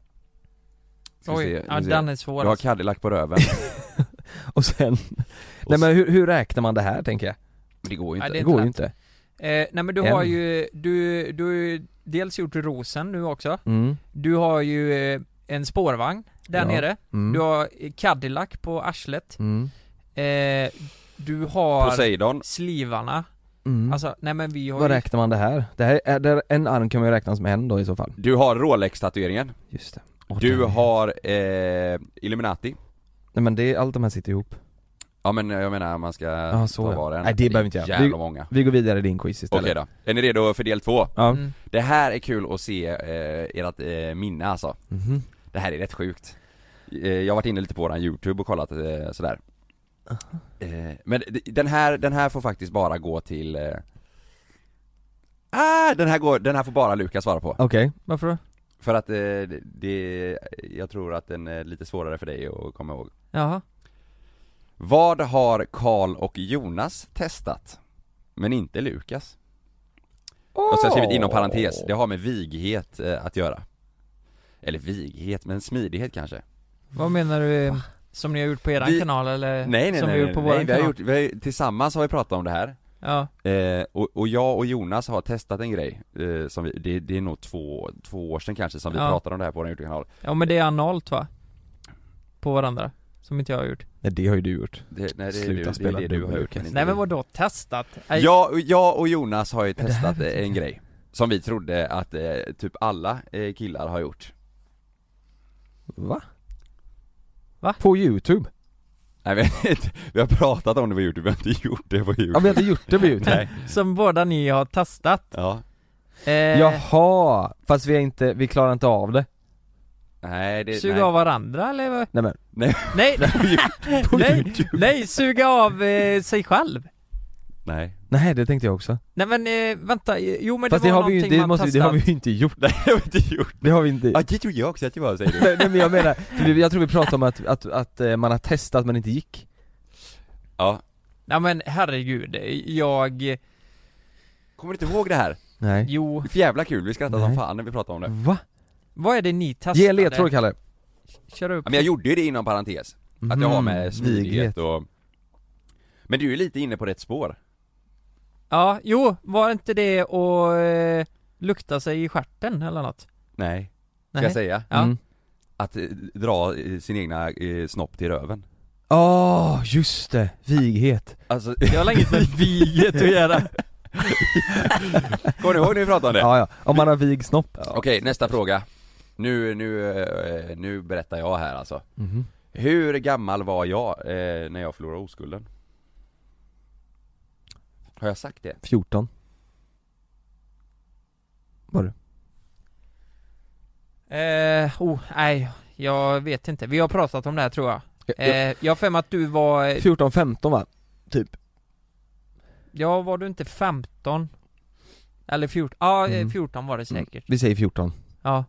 *laughs*
Ska vi se,
Oj,
ska
ja,
vi se.
den är svår
Du har
alltså.
Cadillac
*laughs*
på röven
Och sen, nej men hur, hur räknar man det här tänker jag?
Det går ju
Ja,
inte
Det,
är inte
går
lätt.
ju inte
Eh, nej men du
En.
har ju, du, du har ju dels gjort rosen nu också
mm.
Du har ju eh, en spårvagn där
Ja.
nere
Mm.
Du har eh, Cadillac på arslet
mm.
eh, Du har
Poseidon
slivarna
Mm.
Alltså nej men vi har
Vad
ju,
räknar man det här? Det här är, där, en arm kan man ju räkna som en då i så fall
Du har Rolex-tatueringen
Just det Åh,
Du
den-
har eh, Illuminati
Nej men det, allt de här sitter ihop
Ja men eh, jag menar man ska
Ja, så
ta
ja.
var en
Nej, det behöver inte jag.
Jävla
Det-
många
Vi går vidare i din quiz istället
Okej då, är ni redo för del två?
Ja
Mm.
Det här är kul att se eh, ert eh, minne alltså
Mhm.
Det här är rätt sjukt eh, Jag har varit inne lite på våran youtube och kollat eh, sådär eh, Men d- den här, den här får faktiskt bara gå till eh... ah, den, här går, den här får bara Lukas svara på
Okej,
varför då?
För att eh, det- det, jag tror att den är lite svårare för dig att komma ihåg
Jaha,
Vad har Karl och Jonas testat? Men inte Lukas Och sen skrivit inom parentes, det har med vighet eh, att göra Eller vighet, men smidighet kanske?
vad menar du? eh, Som ni har gjort på eran
Vi-
kanal eller?
Nej nej
som
nej,
vi
nej,
gjort på
nej
våran
vi har
kanal?
gjort, vi har, tillsammans har vi pratat om det här
Ja,
eh, och, och jag och Jonas har testat en grej, eh, som vi, det, det är nog två, två år sedan kanske som vi
Ja.
pratade om det här på vår Youtube-kanal
ja men det är analt va? På varandra, som inte jag har gjort
nej det har ju du gjort
det, nej, det, är
Sluta
du- det,
spela
är det du
dubbel,
har gjort
Lukas.
men inte
Nej men
vi.
vadå testat? Nej,
jag, och- jag och Jonas har ju
Men det här
testat
vet jag
en
inte.
grej Som vi trodde att eh, typ alla eh, killar har gjort
Va?
Va?
På youtube?
Nej men, *laughs* vi har pratat om det på youtube, vi har inte gjort det på
Ja
youtube
vi har inte gjort det på youtube
Nej,
Som båda ni har testat
ja
eh,
Jaha! Fast vi är inte, vi klarar inte av det
Nej det,
Suga
nej.
av varandra eller? vad?
Nej men, *laughs*
Nej,
På
nej,
YouTube.
nej, suga av eh, sig själv
Nej *laughs*
nej det tänkte jag också
Nej men eh, vänta, jo men det
Fast det,
var
har vi ju
någonting
det,
man
måste, vi- det
testade
har vi ju inte gjort,
Nej jag har inte gjort
det har vi inte
Ja det tror jag också att det var säger
*laughs*
du
*laughs*
Nej nej, men jag menar, för vi- jag tror vi pratade om att, att, att eh, man har testat men inte gick
Ja
Nej men herregud, jag,
Kommer du inte ihåg det här?
Nej
jo,
För jävla kul, vi skrattade som
Nej. Mm.
fan när vi pratade om det
Va?
vad är det ni testade?
Ge en ledtråd Kalle
Kör upp
ja, Men jag gjorde ju det inom parentes, att jag har
Mm. Mhm.
med smidighet och Men du är lite inne på rätt spår
Ja, jo, var inte det att eh, lukta sig i stjärten eller något?
Nej Ska
Nej.
jag säga?
Ja.
Mm.
Att eh, dra eh, sin egna eh, snopp till röven
Åh, just det! Vighet
*laughs* Alltså,
Det har
*laughs*
inget med viget att göra
kommer du ihåg när vi pratade om det?
Ja, ja, om man har vig snopp ja.
Okej, nästa fråga Nu, nu, eh, nu berättar jag här alltså
Mhm.
Hur gammal var jag eh, när jag förlorade oskulden? Har jag sagt det?
14 Var du?
eh, oh, nej, jag vet inte, vi har pratat om det här tror jag eh, Jag har för mig att du var,
14, 15 va? Typ
ja var du inte 15? Eller 14, ja eh,
Mm.
14 var det säkert
Vi säger 14
Ja,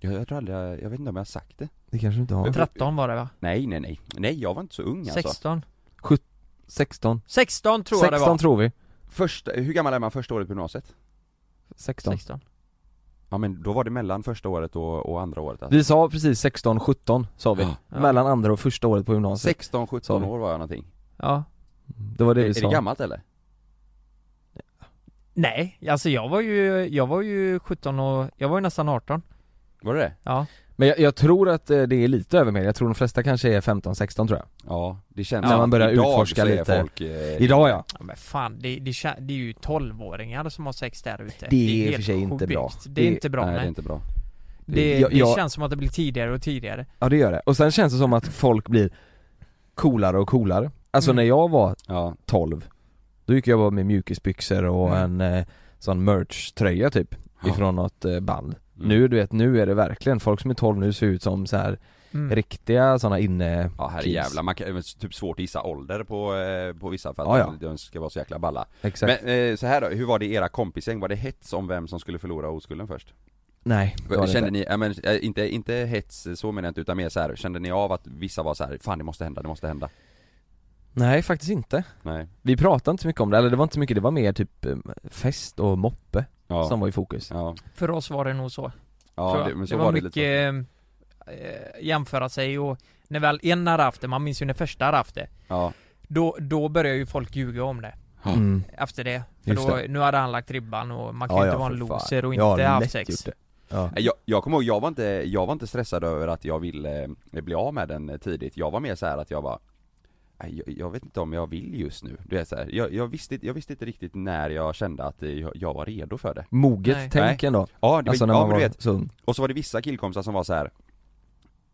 Jag, jag tror aldrig, jag, jag vet inte om jag har sagt det
Det kanske du inte har?
13 var det va?
Nej nej nej, nej jag var inte så ung alltså
16?
16
16 tror jag det
16
var!
tror vi
Första, hur gammal är man första året på gymnasiet?
16
16
Ja men då var det mellan första året och, och andra året alltså.
Vi sa precis 16, 17 sa vi
Ja.
Mellan andra och första året på gymnasiet
16,
Sa
17
vi.
år var jag någonting
Ja
Det var det
Är,
vi
är
sa
det gammalt eller?
Nej, alltså jag var ju, jag var ju 17 och, jag var ju nästan 18
Var det det?
Ja,
Men jag, jag tror att eh, det är lite över med. jag tror de flesta kanske är 15, 16 tror jag
Ja, det känns
När
som
man
att
börjar
idag
utforska
så är
lite.
folk, eh,
Idag ja,
ja men fan det, det, kän- det är ju 12-åringar som har sex där ute
Det är i och
helt
för sig inte
sjukt.
bra.
Det är
Det-
inte bra
Nej det är
nej,
inte bra
det, det,
Jag- jag-
känns som att det blir tidigare och tidigare
ja det gör det. Och sen känns det som att folk blir coolare och coolare Alltså
Mm.
när jag var
Ja,
12 Då gick jag bara med mjukisbyxor och
Mm.
en eh, sån merch-tröja typ
Ja.
Ifrån något eh, band
Mm.
Nu du vet, nu är det verkligen, folk som är 12 nu ser ut som så här
mm.
riktiga såna inne
ja herre
Kids.
jävlar, man kan, det är typ svårt att gissa ålder på, eh, på vissa för att
Ja, ja.
de- de ska vara så jäkla balla
Exakt
Men eh, så här då, hur var det i era kompisgäng? Var det hets om vem som skulle förlora oskulden först?
Nej, det var det
kände
inte.
ni, ja, men, eh, inte, inte hets så menar jag inte utan mer så här. kände ni av att vissa var så här, fan det måste hända, det måste hända?
Nej faktiskt inte
Nej
Vi pratade inte så mycket om det, eller det var inte så mycket, det var mer typ eh, fest och moppe
Ja,
som var i fokus
ja,
För oss var det nog så, tror
ja
jag.
det, men så
det var,
var det
mycket
lite
eh, jämföra sig och när väl en hade haft det, man minns ju när första hade haft det
Ja,
Då, då börjar ju folk ljuga om det
Ja.
Mm.
efter det För
Just
då,
det.
nu hade han lagt ribban och man kan
Ja,
ju inte
ja,
vara en
för fan.
loser och
Jag har
inte haft
lätt
sex
gjort det. Ja.
jag, jag kommer ihåg, jag var, inte, jag var inte stressad över att jag ville eh, bli av med den eh, tidigt, jag var mer så här att jag bara "Nej, jag, jag vet inte om jag vill just nu, du vet så här, jag, jag, visste, inte- jag visste inte riktigt när jag kände att eh, jag, jag var redo för det
Moget
Nej.
tänk ändå,
Ja, det, var-
alltså när
ja
man
men du
var
vet,
så ung
och så var det vissa killkompisar som var så här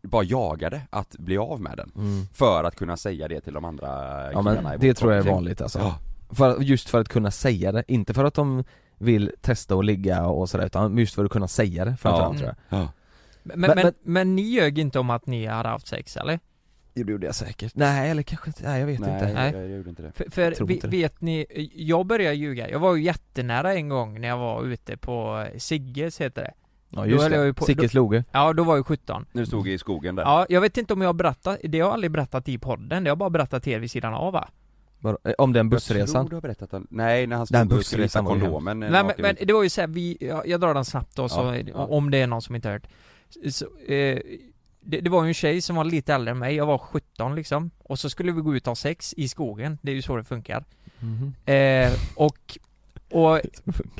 bara jagade att bli av med den
mm.
För att kunna säga det till de andra
Ja
killarna i
men det
vårt
tror jag är
kompisgäng.
vanligt alltså
Ja,
För, just för att kunna säga det, inte för att de vill testa och ligga och sådär utan just för att kunna säga det framförallt
Ja.
tror jag
ja.
Mm. Men,
Men-
men,
men-
men, ni ljög inte om att ni hade haft sex eller?
Det gjorde jag säkert Nej eller kanske inte, nej jag vet
Nej,
inte
Nej.
Jag, jag gjorde inte det
För,
Jag
för
tror
vi,
inte det.
vet ni, jag började ljuga. Jag var ju jättenära en gång när jag var ute på Sigges heter det.
Ja
Då
just
höll jag
det,
ju på-
Sickes Loge
Ja, då var jag 17.
När du stod i skogen där?
Ja, jag vet inte om jag har berättat, det har jag aldrig berättat i podden, det har jag bara berättat till er vid sidan av va?
Vadå? Eh, Om den
Jag tror
bussresan
du har berättat om... Nej, när han
Den
stod och skulle hitta
bussresan var ju
kondomen eh,
Nej men,
naken
men
ute.
det var ju såhär, vi, jag, jag drar den snabbt då så,
Ja, ja.
om det är någon som inte har hört. Så, eh, det, det var ju en tjej som var lite äldre än mig, jag var 17 liksom. Och så skulle vi gå ut och ha sex i skogen, det är ju så det funkar.
Mhm.
Eh, och,
*laughs*
och,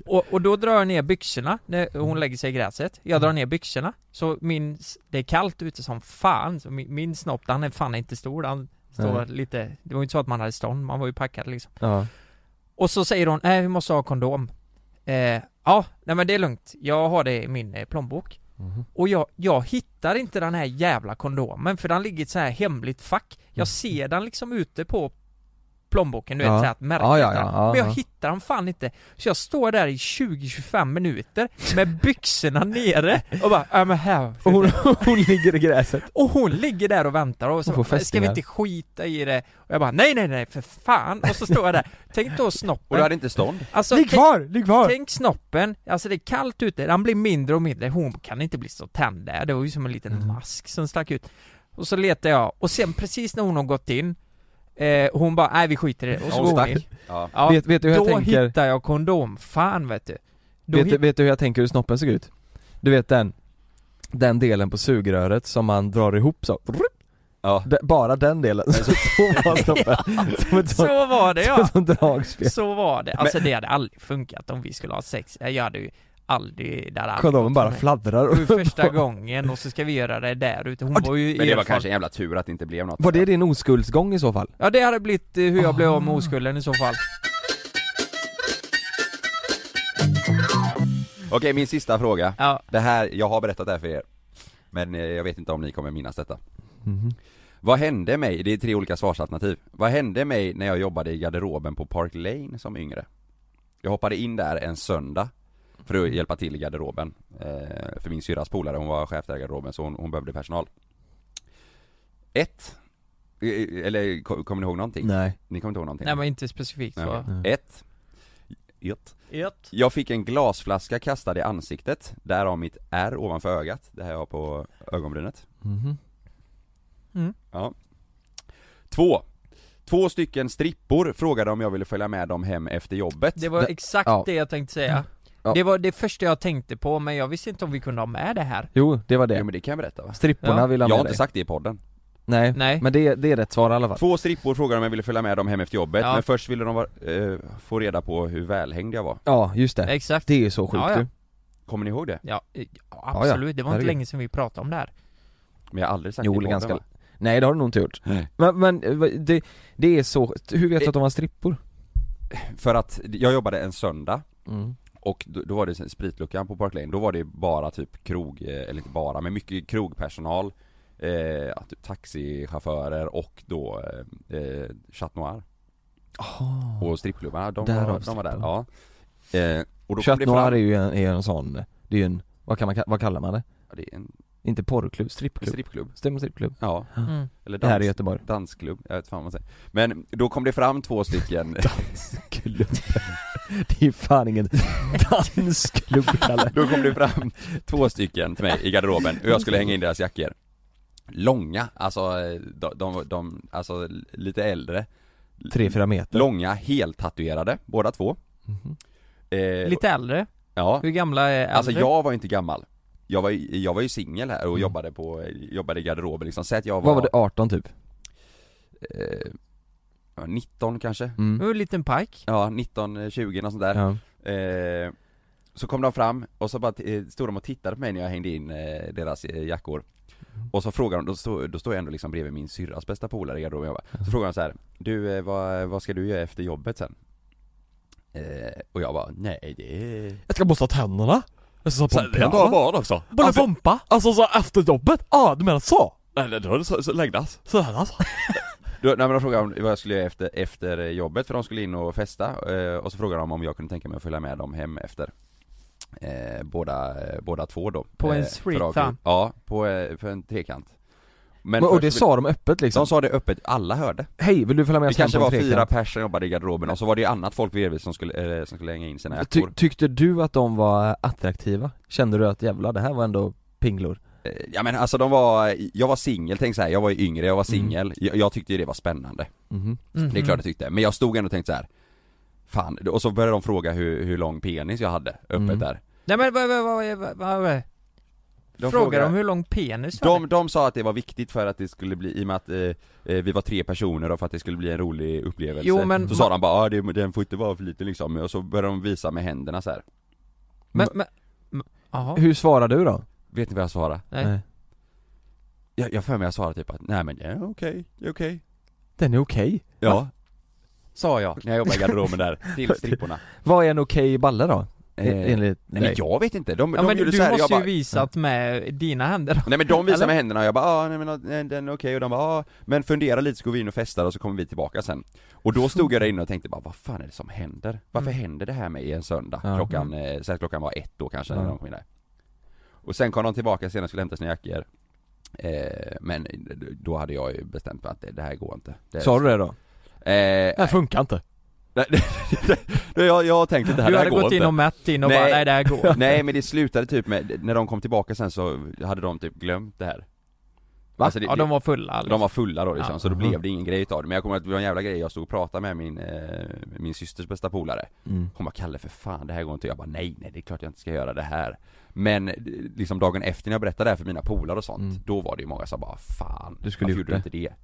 och, och då drar jag ner byxorna när hon lägger sig i gräset. Jag
Mm.
drar ner byxorna. Så min, det är kallt ute som fan. Så min, min snopp, han är fan inte stor. Han står
Nej.
lite, det var ju inte så att man hade stånd, man var ju packad liksom.
Ja,
Och så säger hon, nej vi måste ha kondom. Eh, ja, nej men det är lugnt. Jag har det i min eh, plånbok.
Mhm.
Och jag, jag hittar inte den här jävla kondomen för den ligger i ett så här hemligt fack. Jag ser den liksom ute på plånboken, du vet
Mm. Ja.
så här att märket
Ja, ja, ja,
där.
ja,
Men jag
ja.
hittar den fan inte. Så jag står där i 20-25 minuter
*laughs*
med byxorna nere och bara, ja men här.
Och hon, *laughs* hon ligger i gräset
Och hon ligger där och väntar och så
Hon får
bara, ska vi
fästingar."
inte skita i det? Och jag bara, nej nej nej för fan. Och så står jag där. Tänk då
Och du
snoppen.
hade inte stånd?
Alltså,
Ligg
tänk-
kvar, ligg kvar!
Tänk snoppen, alltså det är kallt ute, den blir mindre och mindre, hon kan inte bli så tänd där, det var ju som en liten
Mm.
mask som stack ut Och så letar jag, och sen precis när hon har gått in eh, Hon bara, nej vi skiter i det, och så
hon
går hon in
stack. Ja.
ja,
vet, vet du hur jag
Då
tänker?
hittar jag kondom, fan vet du Då
Vet, du-
hit-
vet du hur jag tänker hur snoppen såg ut? Du vet den den delen på sugröret som man drar ihop så,
ja.
D- bara den delen, *laughs* så var snoppen som ett sånt,
Så var
*laughs*
det
som
ja!
ett sånt dragspel
Så var det, alltså det hade aldrig funkat om vi skulle ha sex, Eh, jag hade ju aldrig, där aldrig gått
Kondomen bara
för mig.
fladdrar
Det var ju
och- *laughs*
första gången och så ska vi göra det där ute, hon
Ja, det-
var
Men
ju
det var
erfaren.
kanske en jävla tur att det inte blev något
Var det din oskuldsgång i så fall?
Ja det hade blivit eh, hur jag blev av
Ah.
med oskulden i så fall
Okej, min sista fråga
Ja,
Det här, jag har berättat det här för er Men eh, jag vet inte om ni kommer minnas detta Vad hände mig, det är tre olika svarsalternativ Vad hände mig när jag jobbade i garderoben på Park Lane som yngre? Jag hoppade in där en söndag För att hjälpa till i garderoben eh, För min syrras polare, hon var chef där i garderoben så hon, hon behövde personal Ett Eh, Eller ko- kommer ni ihåg någonting?
Nej
Ni kommer inte ihåg någonting?
nej men inte specifikt
Nej,
så
okej. Ett Ett
Ett.
Jag fick en glasflaska kastad i ansiktet, därav mitt R ovanför ögat, det här jag har på ögonbrynet
Mhm.
Mm.
Ja. Två. Två stycken strippor frågade om jag ville följa med dem hem efter jobbet.
Det var
Det-
exakt
ja.
det jag tänkte säga
Mm.
Ja.
Det var det första jag tänkte på, men jag visste inte om vi kunde ha med det här
Jo, det var
Jo
det.
men det kan jag berätta va?
Stripporna
Ja.
vill
Jag
ha
har
med
inte
dig.
sagt det i podden.
Nej.
Nej.
Men det, det är rätt svar i alla fall.
Två strippor frågade om jag ville följa med dem hem efter jobbet,
Ja.
men först ville de vara, eh, få reda på hur välhängd jag var.
Ja, just det.
Exakt
Det är ju så sjukt
Ja, ja.
du.
Kommer ni ihåg det?
Ja, eh, ja, absolut, det var inte
Herregud.
länge sedan vi pratade om det här
Men jag har aldrig sagt
Jo,
det i podden
ganska...
va?
Nej det har du nog inte gjort.
Nej.
Men, men eh, vad- det, det är så, hur vet du
Det-
att de var strippor?
För att jag jobbade en söndag
Mm.
och då, då var det sen spritluckan på Park Lane, då var det bara typ krog, eh, eller inte bara, men mycket krogpersonal eh, ja, typ taxichaufförer och då eh, eh, Chat Noir
Ah.
och strippklubbarna, de,
Mm. Därav
var- de var där, ja
stripporna.
eh, och då kom
Chat
det fram,
Noir är ju en, är en sån, det är ju en, vad, kan man, ka- vad kallar man det?
Ja, det är en,
Inte porrklubb,
en
strippklubb?
strippklubb,
Stämmer strippklubb?
ja,
mm.
eller
Det här är
dans, *laughs*
Göteborg
dansklubb, jag vet fan vad man säger Men då kom det fram två stycken
*laughs* Dansklubb *laughs* Det är fan
*laughs*
ingen dansklubb Kalle
Då kom det fram två stycken till mig i garderoben och jag skulle hänga in deras jackor Långa, alltså eh, de, de, de alltså lite äldre
Tre, fyra meter
Långa, heltatuerade, båda två
Mhm.
eh,
Lite äldre,
Ja,
hur gamla är äldre?
alltså jag var ju inte gammal Jag var, ju- jag var ju singel här och
Mm.
jobbade på, jobbade i garderoben liksom, säg att jag var,
Vad var det, 18 typ?
Eh, ja, 19 kanske?
Mm.
Och en liten pike
Ja, 19, eh, 20 något sånt där
Ja.
Eh, så kom de fram och så bara eh, stod de och tittade på mig när jag hängde in eh, deras eh, jackor
Mm.
Och så frågade de, då stod, då stod jag ändå liksom bredvid min syrras bästa polare i garderoben jag bara, Så frågade de så här, du eh, vad, vad ska du göra efter jobbet sen? Eh, och jag bara, nej det är...
Jag ska borsta tänderna Jag ska
Så här, en dag var det också!
bompa? Alltså så efter jobbet? Ja ah, du menar så?
nej, nej, då är det så, så längdas!
Sådär alltså?
Då, Alltså, nej men de frågade om vad jag skulle göra efter, efter jobbet för de skulle in och festa eh, Och så frågade de om jag kunde tänka mig att följa med dem hem efter eh, båda, eh, båda två då
På en
eh,
streetthumb.
för att- Ja, på, eh, för en trekant Men
Och
först-
det sa de öppet liksom?
de sa det öppet, alla hörde
Hej, vill du följa med
Det
oss hem
kanske
på en
var fyra
trekant?
personer som jobbade i garderoben och så var det ju annat folk bredvid som skulle, eh, som skulle hänga in sina
Ty,
jackor
Tyckte du att de var attraktiva? Kände du att jävlar det här var ändå pinglor?
Eh, Ja men alltså de var, jag var singel, tänk så här, jag var ju yngre, jag var
Mm.
singel, jag, jag tyckte ju det var spännande
Mhm.
Mm.
Det är klart jag tyckte, men jag stod ändå och tänkte så här. Fan, och så började de fråga hur, hur lång penis jag hade öppet
Mm.
där
Nej men vad, vad, vad, vad, vad, vad?
De
Frågar de hur lång penis du
de, de sa att det var viktigt för att det skulle bli, i och med att eh, eh, vi var tre personer och för att det skulle bli en rolig upplevelse
Jo, men
Så
ma-
sa de bara ah, det, den får inte vara för liten liksom, och så började de visa med händerna så här.
Men, men, men jaha,
Hur svarade du då?
Vet ni vad jag svarade?
nej.
Nej.
Jag, jag för mig jag svarade typ att nej men ja, okej, det är okej
Den är okej
Ja Sa jag när jag jobbade i garderoben
*laughs*
där, till stripporna
Vad är en okej balle då? E-
Eh,
Enligt
Nej men
dig?
jag vet inte, de,
Ja
de
men
gjorde
du
så här, jag
måste ju
bara, Mm.
visat med dina händer
Nej men de visade
Eller?
med händerna och jag bara ah, nej men ah, nej, den är okej och de bara ah, men fundera lite så går vi in och festar och så kommer vi tillbaka sen Och då stod jag där inne och tänkte bara vad fan är det som händer? Varför
Mm.
händer det här med en söndag?
Ja.
Klockan, eh, så att klockan var ett då kanske när
Ja.
de kom in där Och sen kom de tillbaka senare och skulle hämta sina jackor eh, Men då hade jag ju bestämt mig att det, det här går inte det,
Sa du det då?
Eh,
Det här funkar inte
nej, jag, jag tänkte det här,
Du
det här
hade
går
gått
inte
in och mätt in och
Nej.
bara nej det här går
*laughs* Nej men det slutade typ med, när de kom tillbaka sen så hade de typ glömt det här
Va?
Alltså, det-
Ja
det-
de var fulla
De var fulla då liksom,
Ja.
så då
Mhm.
blev det ingen grej utav det. Men jag kommer att det var en jävla grej, jag stod och pratade med min, eh, min systers bästa polare
mm.
Hon bara 'Kalle för fan, det här går inte' Jag bara 'Nej, nej det är klart jag inte ska göra det här' Men eh, liksom dagen efter när jag berättade det här för mina polare och sånt,
Mm.
då var det ju många som bara 'Fan,
Du skulle
varför
gjort
gjorde du inte det?'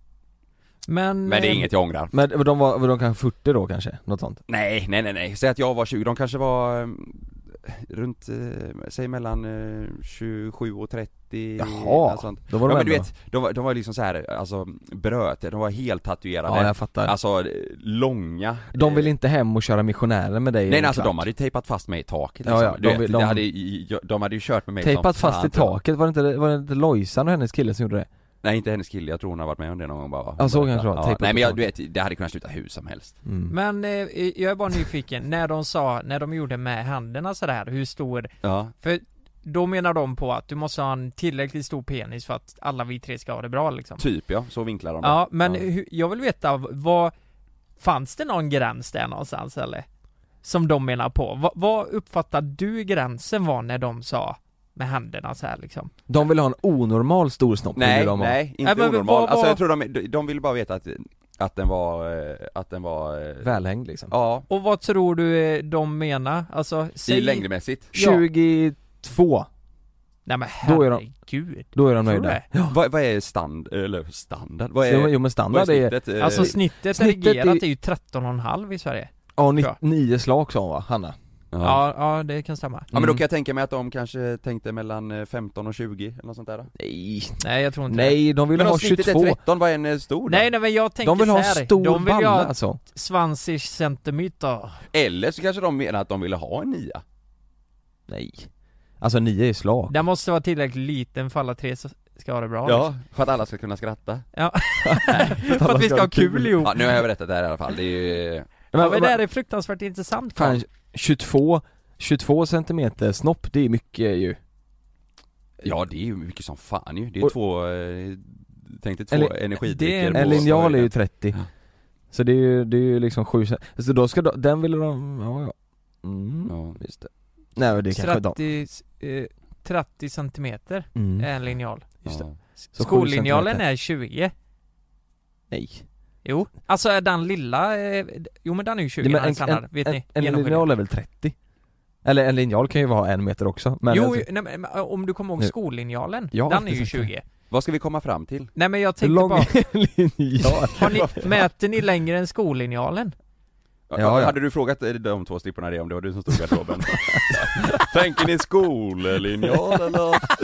Men,
Men det är
eh,
inget jag ångrar
Men de var, var de kanske 40 då kanske? Något sånt?
Nej, nej nej nej, säg att jag var 20, de kanske var eh, runt, eh, säg mellan eh, 27 och 30
Jaha,
något sånt.
då var de
ja, men du
ändå-
vet, de var, de var liksom så här, alltså bröt, de var helt tatuerade
Ja jag fattar
Alltså eh, långa
De vill
eh,
inte hem och köra missionärer med dig i
Nej
en
nej alltså
kvart.
de hade ju tejpat fast mig i taket liksom.
Ja, ja, de
du de, vet,
vill-
de...
de-
Hade, ju- ju- de hade ju kört med mig
Tejpat
som
fast i
fan.
taket, var det inte, var det inte Lojsan och hennes kille som gjorde det?
Nej inte hennes kille, jag tror hon har varit med om det någon gång bara
Ja, så
Hon bara,
kanske det var,
ja,
tejpat
Nej
i
men jag, du vet, det hade kunnat sluta hur som helst
Mm.
Men eh, jag är bara nyfiken, när de sa, när de gjorde med händerna sådär, hur stor?
Ja,
För då menar de på att du måste ha en tillräckligt stor penis för att alla vi tre ska ha det bra liksom
typ ja, så vinklar de det.
Ja men hu- jag vill veta, vad, fanns det någon gräns där någonstans eller? Som de menar på, Va, vad uppfattar du gränsen var när de sa med händerna så här liksom
De vill ha en onormal stor snopp vill
Nej,
de ha.
nej,
Nej,
inte
men
onormal.
vad-
Alltså
vad-
jag tror de, de- de ville bara veta att, att den var, eh, att den var, eh,
Välhängd liksom
ja,
Och vad tror du eh, de menar? Alltså,
i
säg...
längdmässigt.
Ja.
22,
Nej men
Då är de-
herregud
då är de
Tror du
nöjda
det?
Vad, vad är stand, eller standard? Vad är,
Så, Jo men
vad
standard
är
är,
snittet? Eh,
Alltså snittet,
snittet
regerat
i-
är ju 13,5 i Sverige
ja ni,
Bra.
nio slag sa hon va, Hanna?
ja. Ja.
ja. ja, det kan stämma
men
Mm.
då kan jag tänka mig att de kanske tänkte mellan eh, 15 och 20 eller något sånt där.
Nej,
Nej jag tror inte det.
nej de vill
Men
ha
om snittet
22
är 13, vad är en eh, stor då?
Nej nej men jag tänker
De vill ha
så här.
stor
de vill ju
balla
ha
alltså
svans i centimeter
Eller så kanske de menar att de ville ha en nia.
Nej Alltså nio är
*laughs*
slag
Den måste vara tillräckligt liten för alla tre så ska ha det bra liksom.
Ja, för att alla ska kunna skratta.
*laughs* För att vi ska ha
*laughs*
kul ihop
Ja, nu har jag berättat det här i alla fall, det är ju...
Ja, men det här är fruktansvärt intressant
Fan,
Fan.
22, 22 centimeter snopp det är mycket ju
Ja det är ju mycket som fan ju, det är
Och-
två, eh, tänk dig två
Eller-
energidrycker
det är
på
En linjal är ju 30
Ja.
Så det är ju, det är ju liksom 7 Så då ska de, den ville de, ja ja mm.
ja.
Just det. Nej men det kanske de
30, eh, 30 centimeter
mm.
är en linjal
Just det.
Ja.
Så sju
Skollinjalen
centimeter.
är 20
Nej
Jo, alltså är den lilla, eh, d- jo men den är ju 20
Nej, men
den standard, vet
en,
ni?
en
Genomskinlig.
linjal är väl 30? Eller en linjal kan ju vara en meter också men
jo,
alltså,
ju- nej, men eh, om du kommer ihåg
Nu.
skollinjalen,
Jag har
den är ju
alltid sett
20
det.
Vad ska vi komma fram till?
Nej men jag
hur
tänkte
lång *laughs*
bara,
är en linjal?
har
*laughs*
ni, mäter ni längre än skollinjalen?
Ja, ja.
Hade du frågat eh, de två slipporna det om det var du som stod i garderoben? *laughs* Tänker ni skollinjal eller?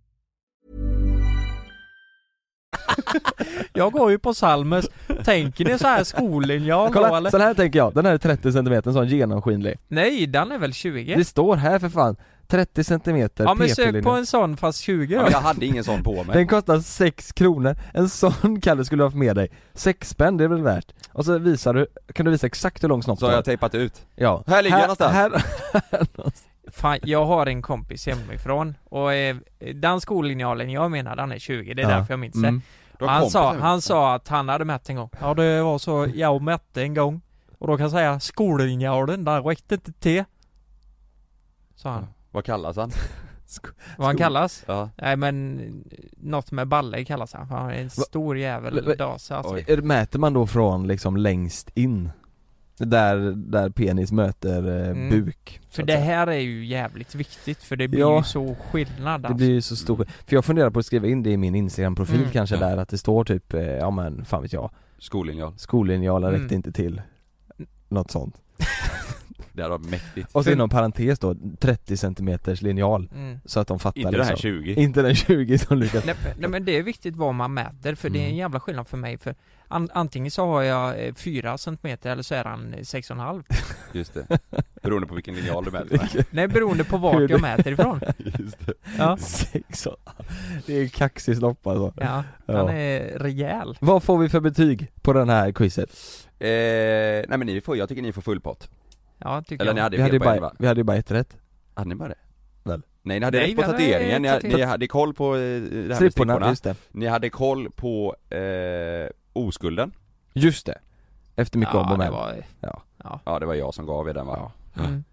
Jag går ju på Salmers, tänker ni så här skollinjal då
Kolla,
eller?
sån här tänker jag, den här är 30 centimeter, sån genomskinlig
Nej, den är väl 20?
Det står här för fan, 30 centimeter
ja men sök
PP-linje.
på en sån fast 20
Ja,
då.
men jag hade ingen sån på mig.
Den kostar 6 kronor, en sån *laughs* Kalle skulle du haft med dig 6 spänn, det är väl värt? Och så visar du, kan du visa exakt hur lång snopp
Så
du
har jag
har?
tejpat ut.
Ja.
Här ligger jag någonstans.
Här,
Fan, jag har en kompis hemifrån och eh, den skollinjalen jag menar den är 20, det är
Ja.
därför jag minns det.
mm.
Du har
han
kompisar
sa,
nu.
han sa att han hade mätt en gång. Ja det var så, jag mätte en gång. Och då kan jag säga, skollinjalen, den räckte inte till. Sa han.
Vad kallas han?
Vad han
Skol-
kallas?
Ja.
Nej men, eh, något med balle kallas han. Han är en stor
Va- va-
jävel dase alltså.
Oj.
Mäter man då från liksom längst in? Där, där penis möter eh,
Mm.
buk så
För
att
det
säga.
här är ju jävligt viktigt för det blir
Ja.
ju så skillnad
Det
alltså.
blir ju så stor För jag funderar på att skriva in det i min Instagram-profil
Mm.
kanske
Ja.
där att det står typ, eh, ja men fan vet jag
Skollinjal.
Skollinjalen
Mm.
räckte inte till Något sånt
Det var mäktigt.
Och så inom parentes då, 30 centimeters linjal
Mm.
Så att de fattar
Inte den här
liksom.
20.
*laughs* Inte den 20 som Lukas
Nej, men- nej men det är viktigt vad man mäter för det är en
Mm.
jävla skillnad för mig för an, antingen så har jag eh, 4 centimeter eller så är han eh, 6,5
Just det. Beroende på vilken linjal
*laughs*
du mäter med.
Nej beroende på vart
Hur
jag
du-
mäter ifrån
*laughs*
Just det.
Ja,
Sex och... Det är ju kaxig snopp alltså
ja han
Ja.
är rejäl
Vad får vi för betyg på den här quizet?
Eh, nej men ni får, jag tycker ni får full pott.
Ja tycker
Eller
jag
ni hade
Vi hade,
fel
ju
på en va?
bara, vi hade ju bara ett rätt
Hade ni bara det?
Väl.
Nej ni hade
Nej,
rätt på
vi hade
tatueringen, ni, hade- ni
tatuering.
hade koll på eh, det här med
Stripporna,
stripporna,
just det
ni hade koll på eh, oskulden,
Just det Efter mycket om
Ja
och
det
men
var
Ja.
Ja,
ja det var jag som gav er den va?
mm.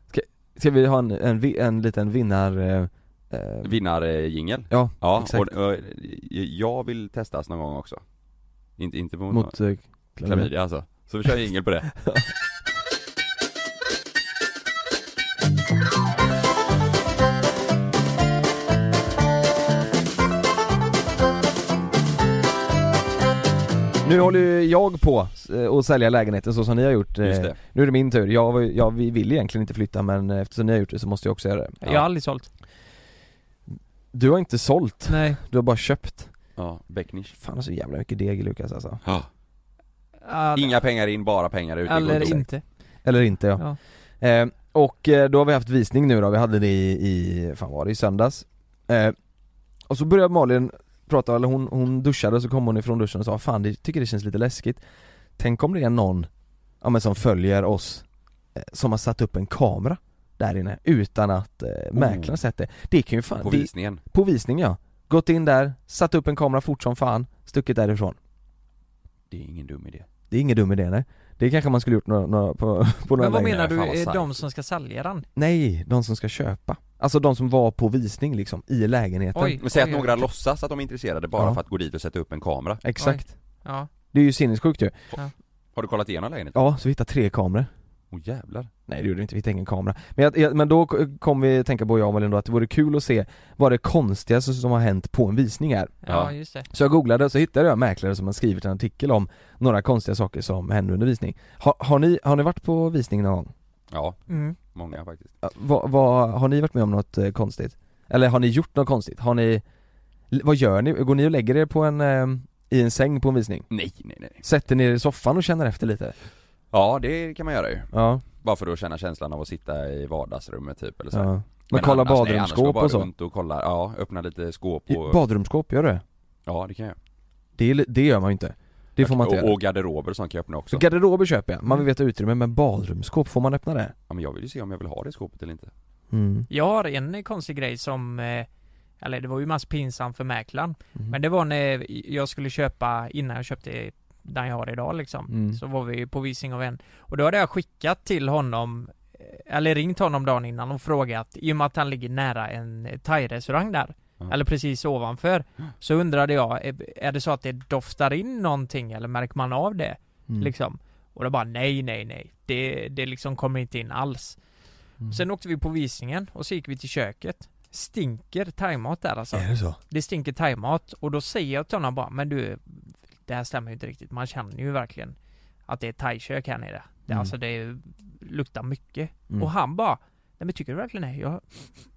Ska vi ha en, en, vi- en liten vinnar... Eh, eh,
Vinnarjingel.
ja,
Ja,
exakt.
och, och, jag vill testas någon gång också. Inte, inte mot, mot
mot eh, klamydia
klamydia alltså. Så vi kör jingel på det.
Nu håller ju jag på eh, att sälja lägenheten så som ni har gjort eh,
Just det.
Nu är det min tur, jag, var ju- jag, vi vill egentligen inte flytta men eh, eftersom ni har gjort det så måste jag också göra det
Jag har aldrig sålt
Du har inte sålt,
Nej
du har bara köpt
Ja, Becknish.
Fan det är så jävla mycket deg i Lukas alltså
Ja. Inga pengar in, bara pengar ut. Det går
Eller
inte.
inte
Eller inte ja,
ja.
Eh, Okej Och eh, då har vi haft visning nu då, vi hade det i, i fan var det, i söndags eh, Och så började Malin prata, eller hon, hon duschade så kom hon ifrån duschen och sa Fan, det, tycker det känns lite läskigt Tänk om det är någon, ja men som följer oss eh, Som har satt upp en kamera där inne utan att eh, mäklaren sett det Det kan ju fan,
på
det,
visningen.
på visning ja Gått in där, satt upp en kamera fort som fan, stuckit därifrån
Det är ingen dum idé.
Det är ingen dum idé nej Det kanske man skulle gjort några, några på, *laughs* på några
Men vad
lägenheter.
menar du,
Fan, vad
är
starkt.
de som ska sälja den?
Nej, de som ska köpa. Alltså de som var på visning liksom, i lägenheten.
Oj.
Men säg att
oj, oj.
några låtsas att de är intresserade bara
Ja.
för att gå dit och sätta upp en kamera.
Exakt.
Ja,
Det är ju sinnessjukt ju.
Har du kollat igenom lägenheten?
Ja, så vi hittade tre kameror.
Åh jävlar.
Nej det gjorde vi inte, vi hittade ingen kamera. Men, jag, jag, men då kom vi tänka på, jag och Malin då, att det vore kul att se vad det konstigaste som har hänt på en visning är.
ja,
Ja.
just det.
Så jag googlade och så hittade jag en mäklare som har skrivit en artikel om några konstiga saker som händer under visning. Har, har, ni, har ni varit på visning någon gång?
Ja,
Mm.
många faktiskt.
Ja, Vad, vad, har ni varit med om något eh, konstigt? Eller har ni gjort något konstigt? Har ni, l- vad gör ni? Går ni och lägger er på en, eh, i en säng på en visning?
Nej, nej, nej.
Sätter ni er i soffan och känner efter lite?
Ja, det kan man göra ju.
Ja,
Bara för att känna känslan av att sitta i vardagsrummet typ eller så.
ja.
här.
Men, kolla
annars, alltså, nej,
badrumsskåp
annars
och
går jag bara
så?
runt och kollar, ja, öppna lite skåp
I,
och...
badrumsskåp, gör du det?
ja, det kan jag göra.
det? är li- Det gör man ju inte. Det får man inte
och, Mm.
göra.
och garderober och sånt kan jag öppna också.
Garderober köper jag, man vill veta utrymme, men badrumsskåp, får man öppna det?
Ja, men jag vill ju se om jag vill ha det skåpet eller inte.
Mm.
Jag har en konstig grej som, eh, eller det var ju mest pinsamt för mäklaren.
Mm.
Men det var när jag skulle köpa, innan jag köpte den jag har idag liksom.
Mm.
Så var vi på visning av en. Och då hade jag skickat till honom, eh, eller ringt honom dagen innan och frågat, i och med att han ligger nära en eh, thai-restaurang där.
Ja.
Eller
*gasps*
precis ovanför. Så undrade jag, är, är det så att det doftar in någonting eller märker man av det?
Mm.
Liksom. Och då bara nej, nej, nej. Det, det liksom kommer inte in alls.
Mm.
Sen åkte vi på visningen och så gick vi till köket. Stinker thaimat där alltså.
Är det så?
Det stinker thaimat. Och då säger jag till honom bara, men du, det här stämmer ju inte riktigt. Man känner ju verkligen att det är thaikök här nere. Det,
Mm.
Alltså det luktar mycket.
Mm.
Och han bara, nej men tycker du verkligen det? Jag,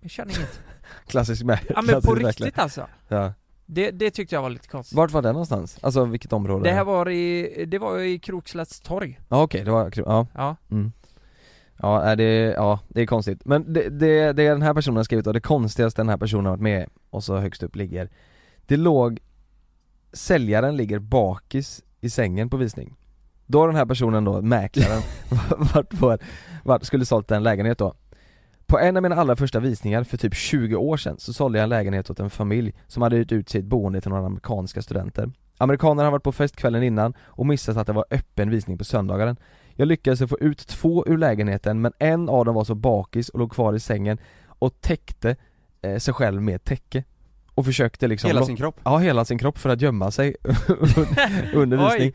jag
*laughs*
känner inget.
Klassisk med.
Ja men på
klassisk mäklare.
riktigt alltså.
Ja.
Det, det tyckte jag var lite konstigt.
Vart var det någonstans? Alltså vilket område?
Det här var i, det var i Krokslätts torg.
Ja okej, det var, ja
Ja.
Ja, nej, det, ja, det är konstigt. Men det, det, det den här personen har skrivit och det konstigaste den här personen har varit med och så högst upp ligger Det låg, säljaren ligger bakis i sängen på visning Då har den här personen då,
*laughs*
mäklaren, *laughs* varit på, varit, skulle sålt en lägenhet då På en av mina allra första visningar för typ 20 år sedan så sålde jag en lägenhet åt en familj som hade hyrt ut sitt boende till några amerikanska studenter Amerikanerna hade varit på fest kvällen innan och missat att det var öppen visning på söndagen jag lyckades få ut två ur lägenheten men en av dem var så bakis och låg kvar i sängen och täckte eh, sig själv med ett täcke Och försökte liksom
Hela
lo-
sin kropp.
Ja, hela sin kropp för att gömma sig *laughs* under visning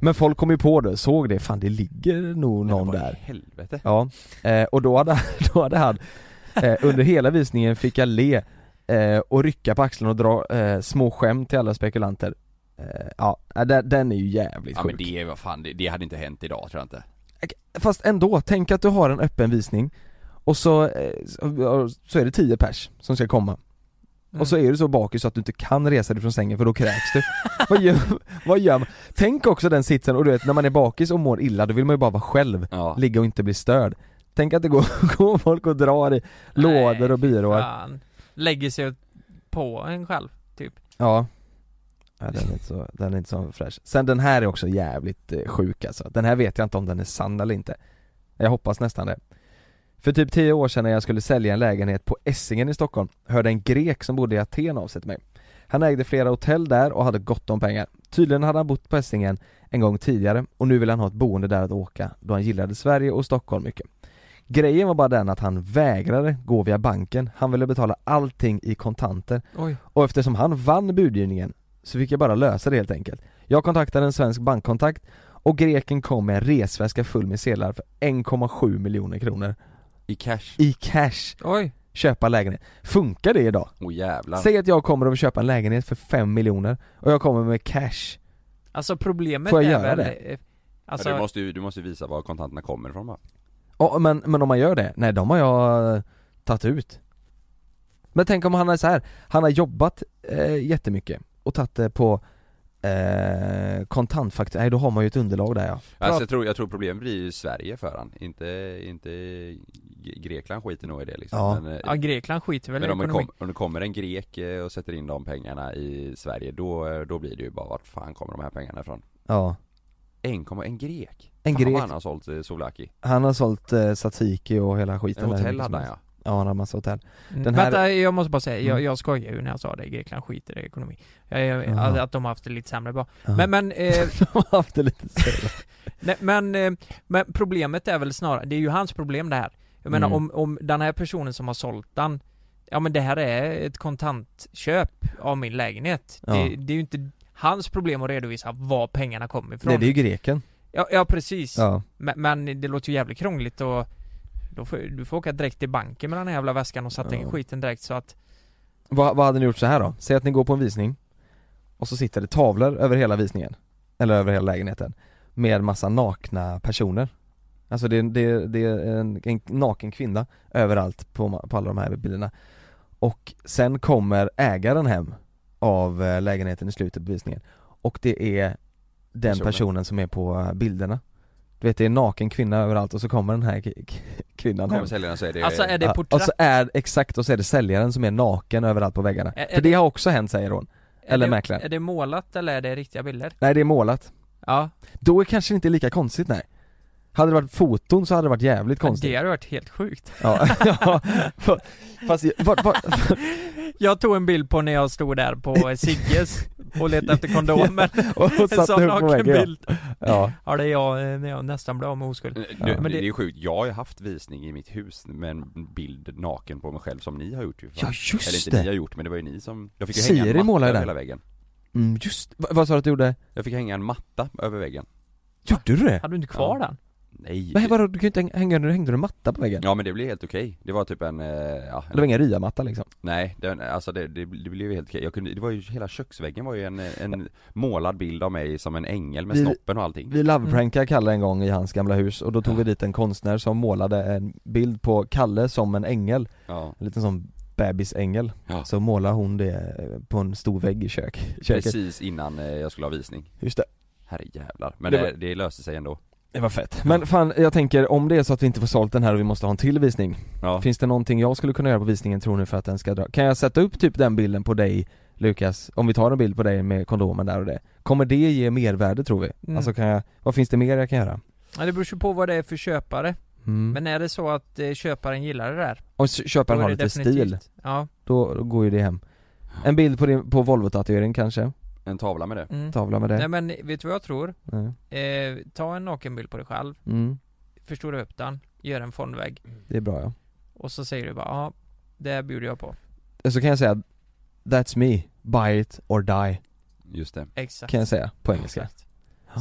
Men folk kom ju på det, såg det, fan det ligger nog
Men
någon
vad i
där
helvete.
Ja, eh, och då hade, *laughs* då hade han, eh, under hela visningen fick jag le eh, och rycka på axlarna och dra eh, små skämt till alla spekulanter eh, Ja, eh, den, den är ju jävligt
Ja
sjuk Eh,
men det, vad fan, det, det hade inte hänt idag tror jag inte.
Fast ändå, tänk att du har en öppen visning och så, eh, så- så är det 10 pers som ska komma
Mm.
Och *laughs* så är du så bakis så att du inte kan resa dig från sängen för då kräks du vad, gör, vad gör man? Tänk också den sitsen, och du vet när man är bakis och mår illa då vill man ju bara vara själv,
Ja.
ligga och inte bli störd Tänk att det går, *laughs* går folk och drar i lådor och
Nej,
byråer
Fan. Lägger sig på en själv.
Ja Ja, den är, inte så, den är inte så fräsch. Sen den här är också jävligt eh, sjuk alltså. Den här vet jag inte om den är sann eller inte. Jag hoppas nästan det. För typ 10 år sedan när jag skulle sälja en lägenhet på Essingen i Stockholm hörde en grek som bodde i Aten av sig till mig. Han ägde flera hotell där och hade gott om pengar. Tydligen hade han bott på Essingen en gång tidigare och nu ville han ha ett boende där att åka då han gillade Sverige och Stockholm mycket. Grejen var bara den att han vägrade gå via banken. Han ville betala allting i kontanter
Oj.
och eftersom han vann budgivningen så fick jag bara lösa det helt enkelt. Jag kontaktade en svensk bankkontakt och greken kom med en resväska full med sedlar för 1,7 miljoner kronor
I cash.
i cash.
Oj.
Köpa lägenhet. Funkar det idag?
Åh jävlar.
Säg att jag kommer och vill köpa en lägenhet för 5 miljoner och jag kommer med cash.
Alltså problemet
Får jag
är
göra
väl...
det?
eh,
Ja,
Alltså,
du, måste ju, du måste ju visa var kontanterna kommer ifrån va?
Ja, men, men om man gör det? Nej, de har jag eh, tagit ut. Men tänk om han är så här. han har jobbat eh, jättemycket och tagit det på eh, kontantfaktura. Nej, då har man ju ett underlag där ja.
Alltså jag tror, jag tror problemet blir ju Sverige för han, inte, inte G- Grekland skiter nog i det liksom
Ja.
Men, eh,
Ja, Grekland skiter väl i
men om, det
ekonomi.
kom, om det kommer en grek eh, och sätter in de pengarna i Sverige då, eh, då blir det ju bara vart fan kommer de här pengarna ifrån?
Ja,
1,1 grek?
En
fan, vad
grek.
han har sålt eh, Souvlaki
han har sålt eh, tzatziki och hela skiten
En hotell
där.
liksom.
hade han ja
Ja, han hade massa hotell Den här-
Vänta, jag måste bara säga, jag,
Mm.
jag skojar ju när jag sa det, Grekland skiter i ekonomi. Jag, jag, alltså,
Jaha.
att- Att de har haft det lite sämre bra.
Ja. *laughs*
Men, men, eh,
De har haft det lite så
nej, men, eh, men problemet är väl snarare, det är ju hans problem det här. Jag menar
Mm.
om, om den här personen som har sålt den, ja men det här är ett kontantköp av min lägenhet.
Ja.
Det, det är ju inte hans problem att redovisa var pengarna kommer ifrån.
Nej det är ju greken
ja, ja precis.
Ja,
Men, men det låter ju jävligt krångligt och då får, du får åka direkt till banken med den här jävla väskan och sätta in
Ja.
skiten direkt så att
vad, vad hade ni gjort så här då? Säg att ni går på en visning Och så sitter det tavlor över hela visningen Eller över hela lägenheten Med massa nakna personer Alltså det, det, det är en, en naken kvinna överallt på, ma- på alla de här bilderna Och sen kommer ägaren hem av eh, lägenheten i slutet på visningen Och det är den
Personen.
personen, som är på eh, bilderna Du vet det är en naken kvinna överallt och så kommer den här k- k- kvinnan hem
Kommer säljaren så är det
Alltså är det
Ja, Och
porträtt?
så är, exakt, och så är det säljaren som är naken överallt på väggarna.
Är- är
För det har också hänt säger hon. eller
är det,
mäklaren.
är det målat eller är det riktiga bilder?
Nej det är målat.
Ja,
Då är kanske det inte lika konstigt nej. Hade det varit foton så hade det varit jävligt
det
konstigt.
hade varit helt sjukt
Ja, *laughs* ja. Fa- Fast, vad, vad,
*laughs* Jag tog en bild på när jag stod där *laughs* på Sigges och letade efter kondomer
och
*laughs* En
satte
sån
upp på
naken
väggen. ja.
bild
Ja.
Ja det är jag eh, när jag nästan blev av med oskuld
Du, Eh, det,
Men det-
det är sjukt, jag har ju haft visning i mitt hus med en bild naken på mig själv som ni har gjort ju
ja
Eller
just
inte ni
det.
har gjort men det var ju ni som, jag fick ju hänga en
Siri
matta
målar ju
över
den.
hela väggen
Mm, just Va- Vad sa du att du gjorde?
Jag fick hänga en matta över väggen
Gjorde du det?
Hade du inte kvar
Ja.
den?
Nej!
Nej vadå, du kan ju inte häng- hänga, nu hängde du en matta på väggen?
Ja men det blev helt okej, det var typ en, eh, ja,
Det var ingen ryamatta liksom?
nej, den, alltså det, det, det blev ju helt okej, jag kunde, det var ju, hela köksväggen var ju en, eh, en målad bild av mig som en ängel med
Vi-
snoppen och allting
Vi
Mm.
loveprankade Kalle en gång i hans gamla hus och då tog
Ja.
vi dit en konstnär som målade en bild på Kalle som en ängel
Ja,
En liten sån bebisängel
Ja.
Så målar hon det eh, på en stor vägg i kök, köket
precis innan eh, jag skulle ha visning,
Just det,
herrejävlar, men
Det
det,
var-
det, löste sig ändå
det var fett Men fan, jag tänker om det är så att vi inte får sålt den här och vi måste ha en till visning
Ja,
Finns det någonting jag skulle kunna göra på visningen tror ni för att den ska dra? Kan jag sätta upp typ den bilden på dig Lukas, om vi tar en bild på dig med kondomen där och det Kommer det ge mervärde tror vi?
Mm.
Alltså kan jag, vad finns det mer jag kan göra?
Ja, det beror ju på vad det är för köpare
Mm.
Men är det så att eh, köparen gillar det där?
Om s-
då
köparen
är
har
det
lite stil,
definitivt- Ja,
då, då går ju det hem En bild på, din, på Volvo-tatuering kanske?
en tavla med det
mm.
Tavla med
Nej
det?
men vet du vad jag tror?
Nej.
Eh, ta en nakenbild på dig själv,
Mm.
förstora upp den, gör en fondvägg
Det är bra ja
och så säger du bara ja, det bjuder jag på.
Eh, så kan jag säga That's me, buy it or die
Just det,
Exakt.
kan jag säga på engelska
Exakt.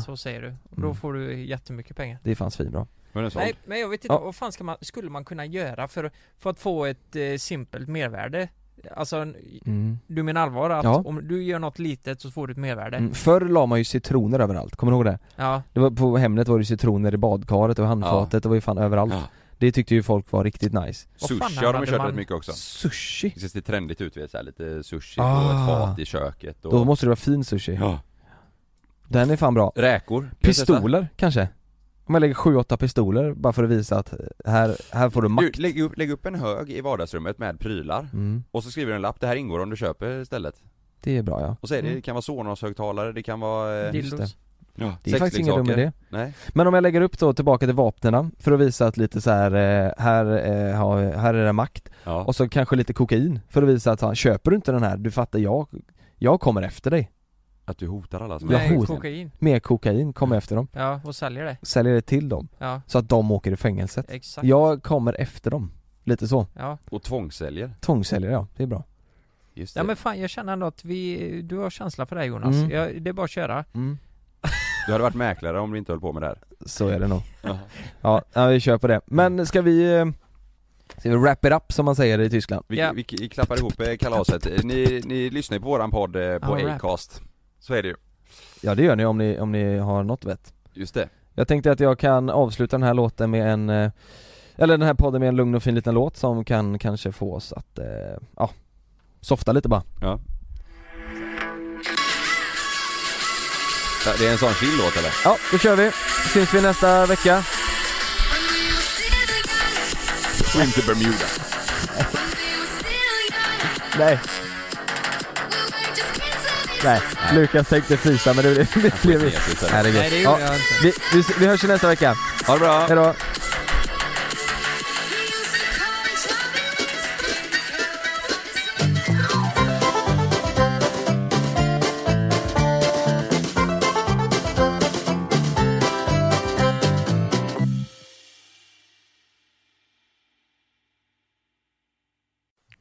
Så säger du. Och då
Mm.
får du jättemycket pengar.
Det är fan svinbra
var den såld?
Nej, men jag vet inte,
Ja.
vad fan ska man, skulle man kunna göra för, för att få ett eh, simpelt mervärde? Alltså, en-
mm.
du menar allvar att
Ja.
om du gör något litet så får du ett mervärde?
Mm. Eh, Förr la man ju citroner överallt, kommer du ihåg det?
Ja,
det var, på Hemnet var det citroner i badkaret och i handfatet, det var ju fan överallt
Ja.
Det tyckte ju folk var riktigt nice
Vad fan
Sushi har de
hade
ju kört
man-
rätt mycket också
Sushi?
Det ser trendigt ut vet, så här, lite sushi på
Ah.
ett fat i köket och...
Då måste det vara fin sushi,
ja.
den är fan bra
Räkor, Kan du testa?
Pistoler kanske? Om jag lägger 7-8 pistoler bara för att visa att här, här får du
Du,
makt
lägg, upp, lägg upp en hög i vardagsrummet med prylar
mm.
och så skriver du en lapp, det här ingår om du köper istället
Det är bra ja
Och så är det,
Mm.
det kan vara Sonos-högtalare, det kan vara... eh,
Just det.
dildos.
ja,
Det är faktiskt ingen dum
sexleksaker.
idé
Nej,
Men om jag lägger upp då tillbaka till vapnena för att visa att lite så här, eh, här, eh, har- här är det makt
ja.
och så kanske lite kokain för att visa att han köper du inte den här, du fattar jag, jag kommer efter dig.
att du hotar alla som
Jag
Nej,
hotar.
kokain.
Med kokain kommer efter dem,
Ja, och säljer det.
säljer det till dem
Ja,
så att de åker i fängelset.
exakt.
Jag kommer efter dem, lite så.
Ja.
Och tvångssäljer,
Tvångssäljare ja, det är bra.
just det.
Ja men fan jag känner ändå att vi, du har känsla för det här, Jonas.
Mm.
Ja, det är bara att köra.
Du hade varit mäklare om du inte höll på med det här
Så är det nog. Ja, ja, vi kör på det. Men ska vi, eh, ska vi wrap it up som man säger i Tyskland?
vi,
Ja.
vi, vi klappar ihop eh, kalaset, Eh, ni, ni lyssnar ju på våran podd eh, på
Ja, rap.
Acast Så är det ju,
Ja det gör ni om ni, om ni har något vett.
just det
Jag tänkte att jag kan avsluta den här låten med en eh, Eller den här podden med en lugn och fin liten låt som kan kanske få oss att, eh, ja Softa lite bara
Ja Ja, Det är en sån chill låt eller?
Ja, då kör vi! Syns vi nästa vecka
When will you see the
Swim
light?
to Bermuda.
Nej, nej. Lukas tänkte frysa men det blev... Det blev Herregud.
Nej, det gjorde jag inte.
vi, vi, vi hörs ju nästa vecka.
Ha det bra!
Hejdå.